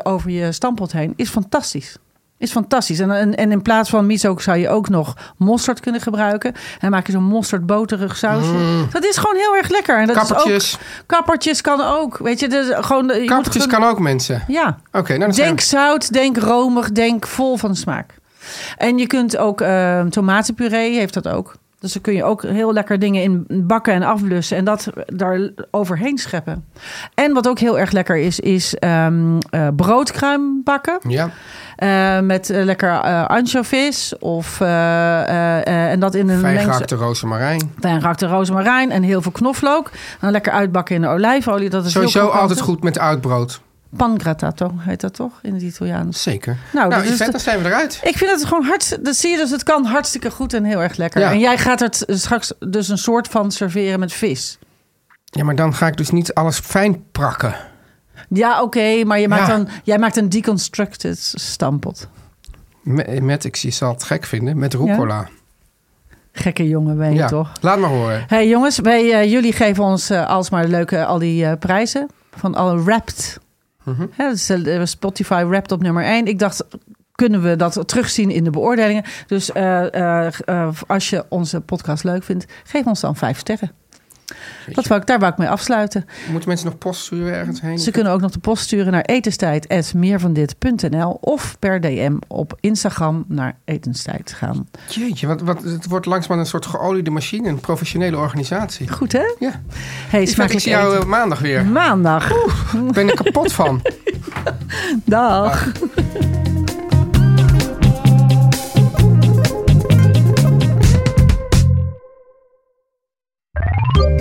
C: over je stampot heen. Is fantastisch. Is fantastisch. En, en, en in plaats van miso zou je ook nog mosterd kunnen gebruiken. En maak je zo'n mosterdboterig sausje. Dat is gewoon heel erg lekker. En dat Is
B: Kappertjes.
C: ook, kappertjes kan ook. Weet je, dus gewoon, je moet
B: Kappertjes
C: gewoon-
B: kan ook mensen.
C: Ja.
B: Oké, nou dan zijn
C: Denk zout, denk romig, denk vol van smaak. En je kunt ook eh, tomatenpuree, heeft dat ook. Dus daar kun je ook heel lekker dingen in bakken en afblussen en dat daar overheen scheppen. En wat ook heel erg lekker is, is ehm eh, broodkruim bakken.
B: we- Ja,
C: Eh, met eh, lekker eh anchovies of eh, eh, eh, en dat in een
B: fijn
C: mengsel-
B: gehakte rozemarijn.
C: fijn gehakte rozemarijn en heel veel knoflook. En dan lekker uitbakken in de olijfolie. Dat is heel
B: Sowieso
C: krokant,
B: altijd
C: hè?
B: goed met oud brood.
C: Pangrattato heet dat toch in het Italiaans.
B: Zeker.
C: Nou,
B: Nou,
C: dat is
B: Yvette,
C: de-
B: dan zijn we eruit.
C: Ik vind het gewoon hartstikke... Dat zie je dus, het kan hartstikke goed en heel erg lekker.
B: Ja.
C: En jij gaat het straks dus een soort van serveren met vis.
B: Ja, maar dan ga ik dus niet alles fijn prakken.
C: Ja, oké, maar je maakt
B: Ja.
C: dan, jij maakt een deconstructed stampot.
B: Met, met ik zie- zal het gek vinden, met rucola.
C: Gekke jongen ben je
B: Ja,
C: toch?
B: laat maar horen.
C: hey, jongens, wij, eh, jullie geven ons eh, alsmaar leuke al die eh, prijzen. Van alle Wrapped.
B: Mhm.
C: Hè, dat is, eh, Spotify Wrapped op nummer 1. Ik dacht, kunnen we dat terugzien in de beoordelingen? Dus eh, eh, eh, als je onze podcast leuk vindt, geef ons dan vijf sterren. Dat wou ik, daar wou ik mee afsluiten.
B: Moeten mensen nog post sturen ergens heen?
C: Ze kunnen ook nog de post sturen naar etenstijd.meervandit.nl of per DM op Instagram naar etenstijd gaan.
B: Jeetje, wat, wat, het wordt langzamerhand een soort geoliede machine, een professionele organisatie.
C: Goed hè?
B: Ja,
C: Hey,
B: Yvette, ik
C: smakelijk
B: zie jou
C: eten.
B: eh, maandag weer.
C: Maandag.
B: Ik ben er kapot van.
C: Dag.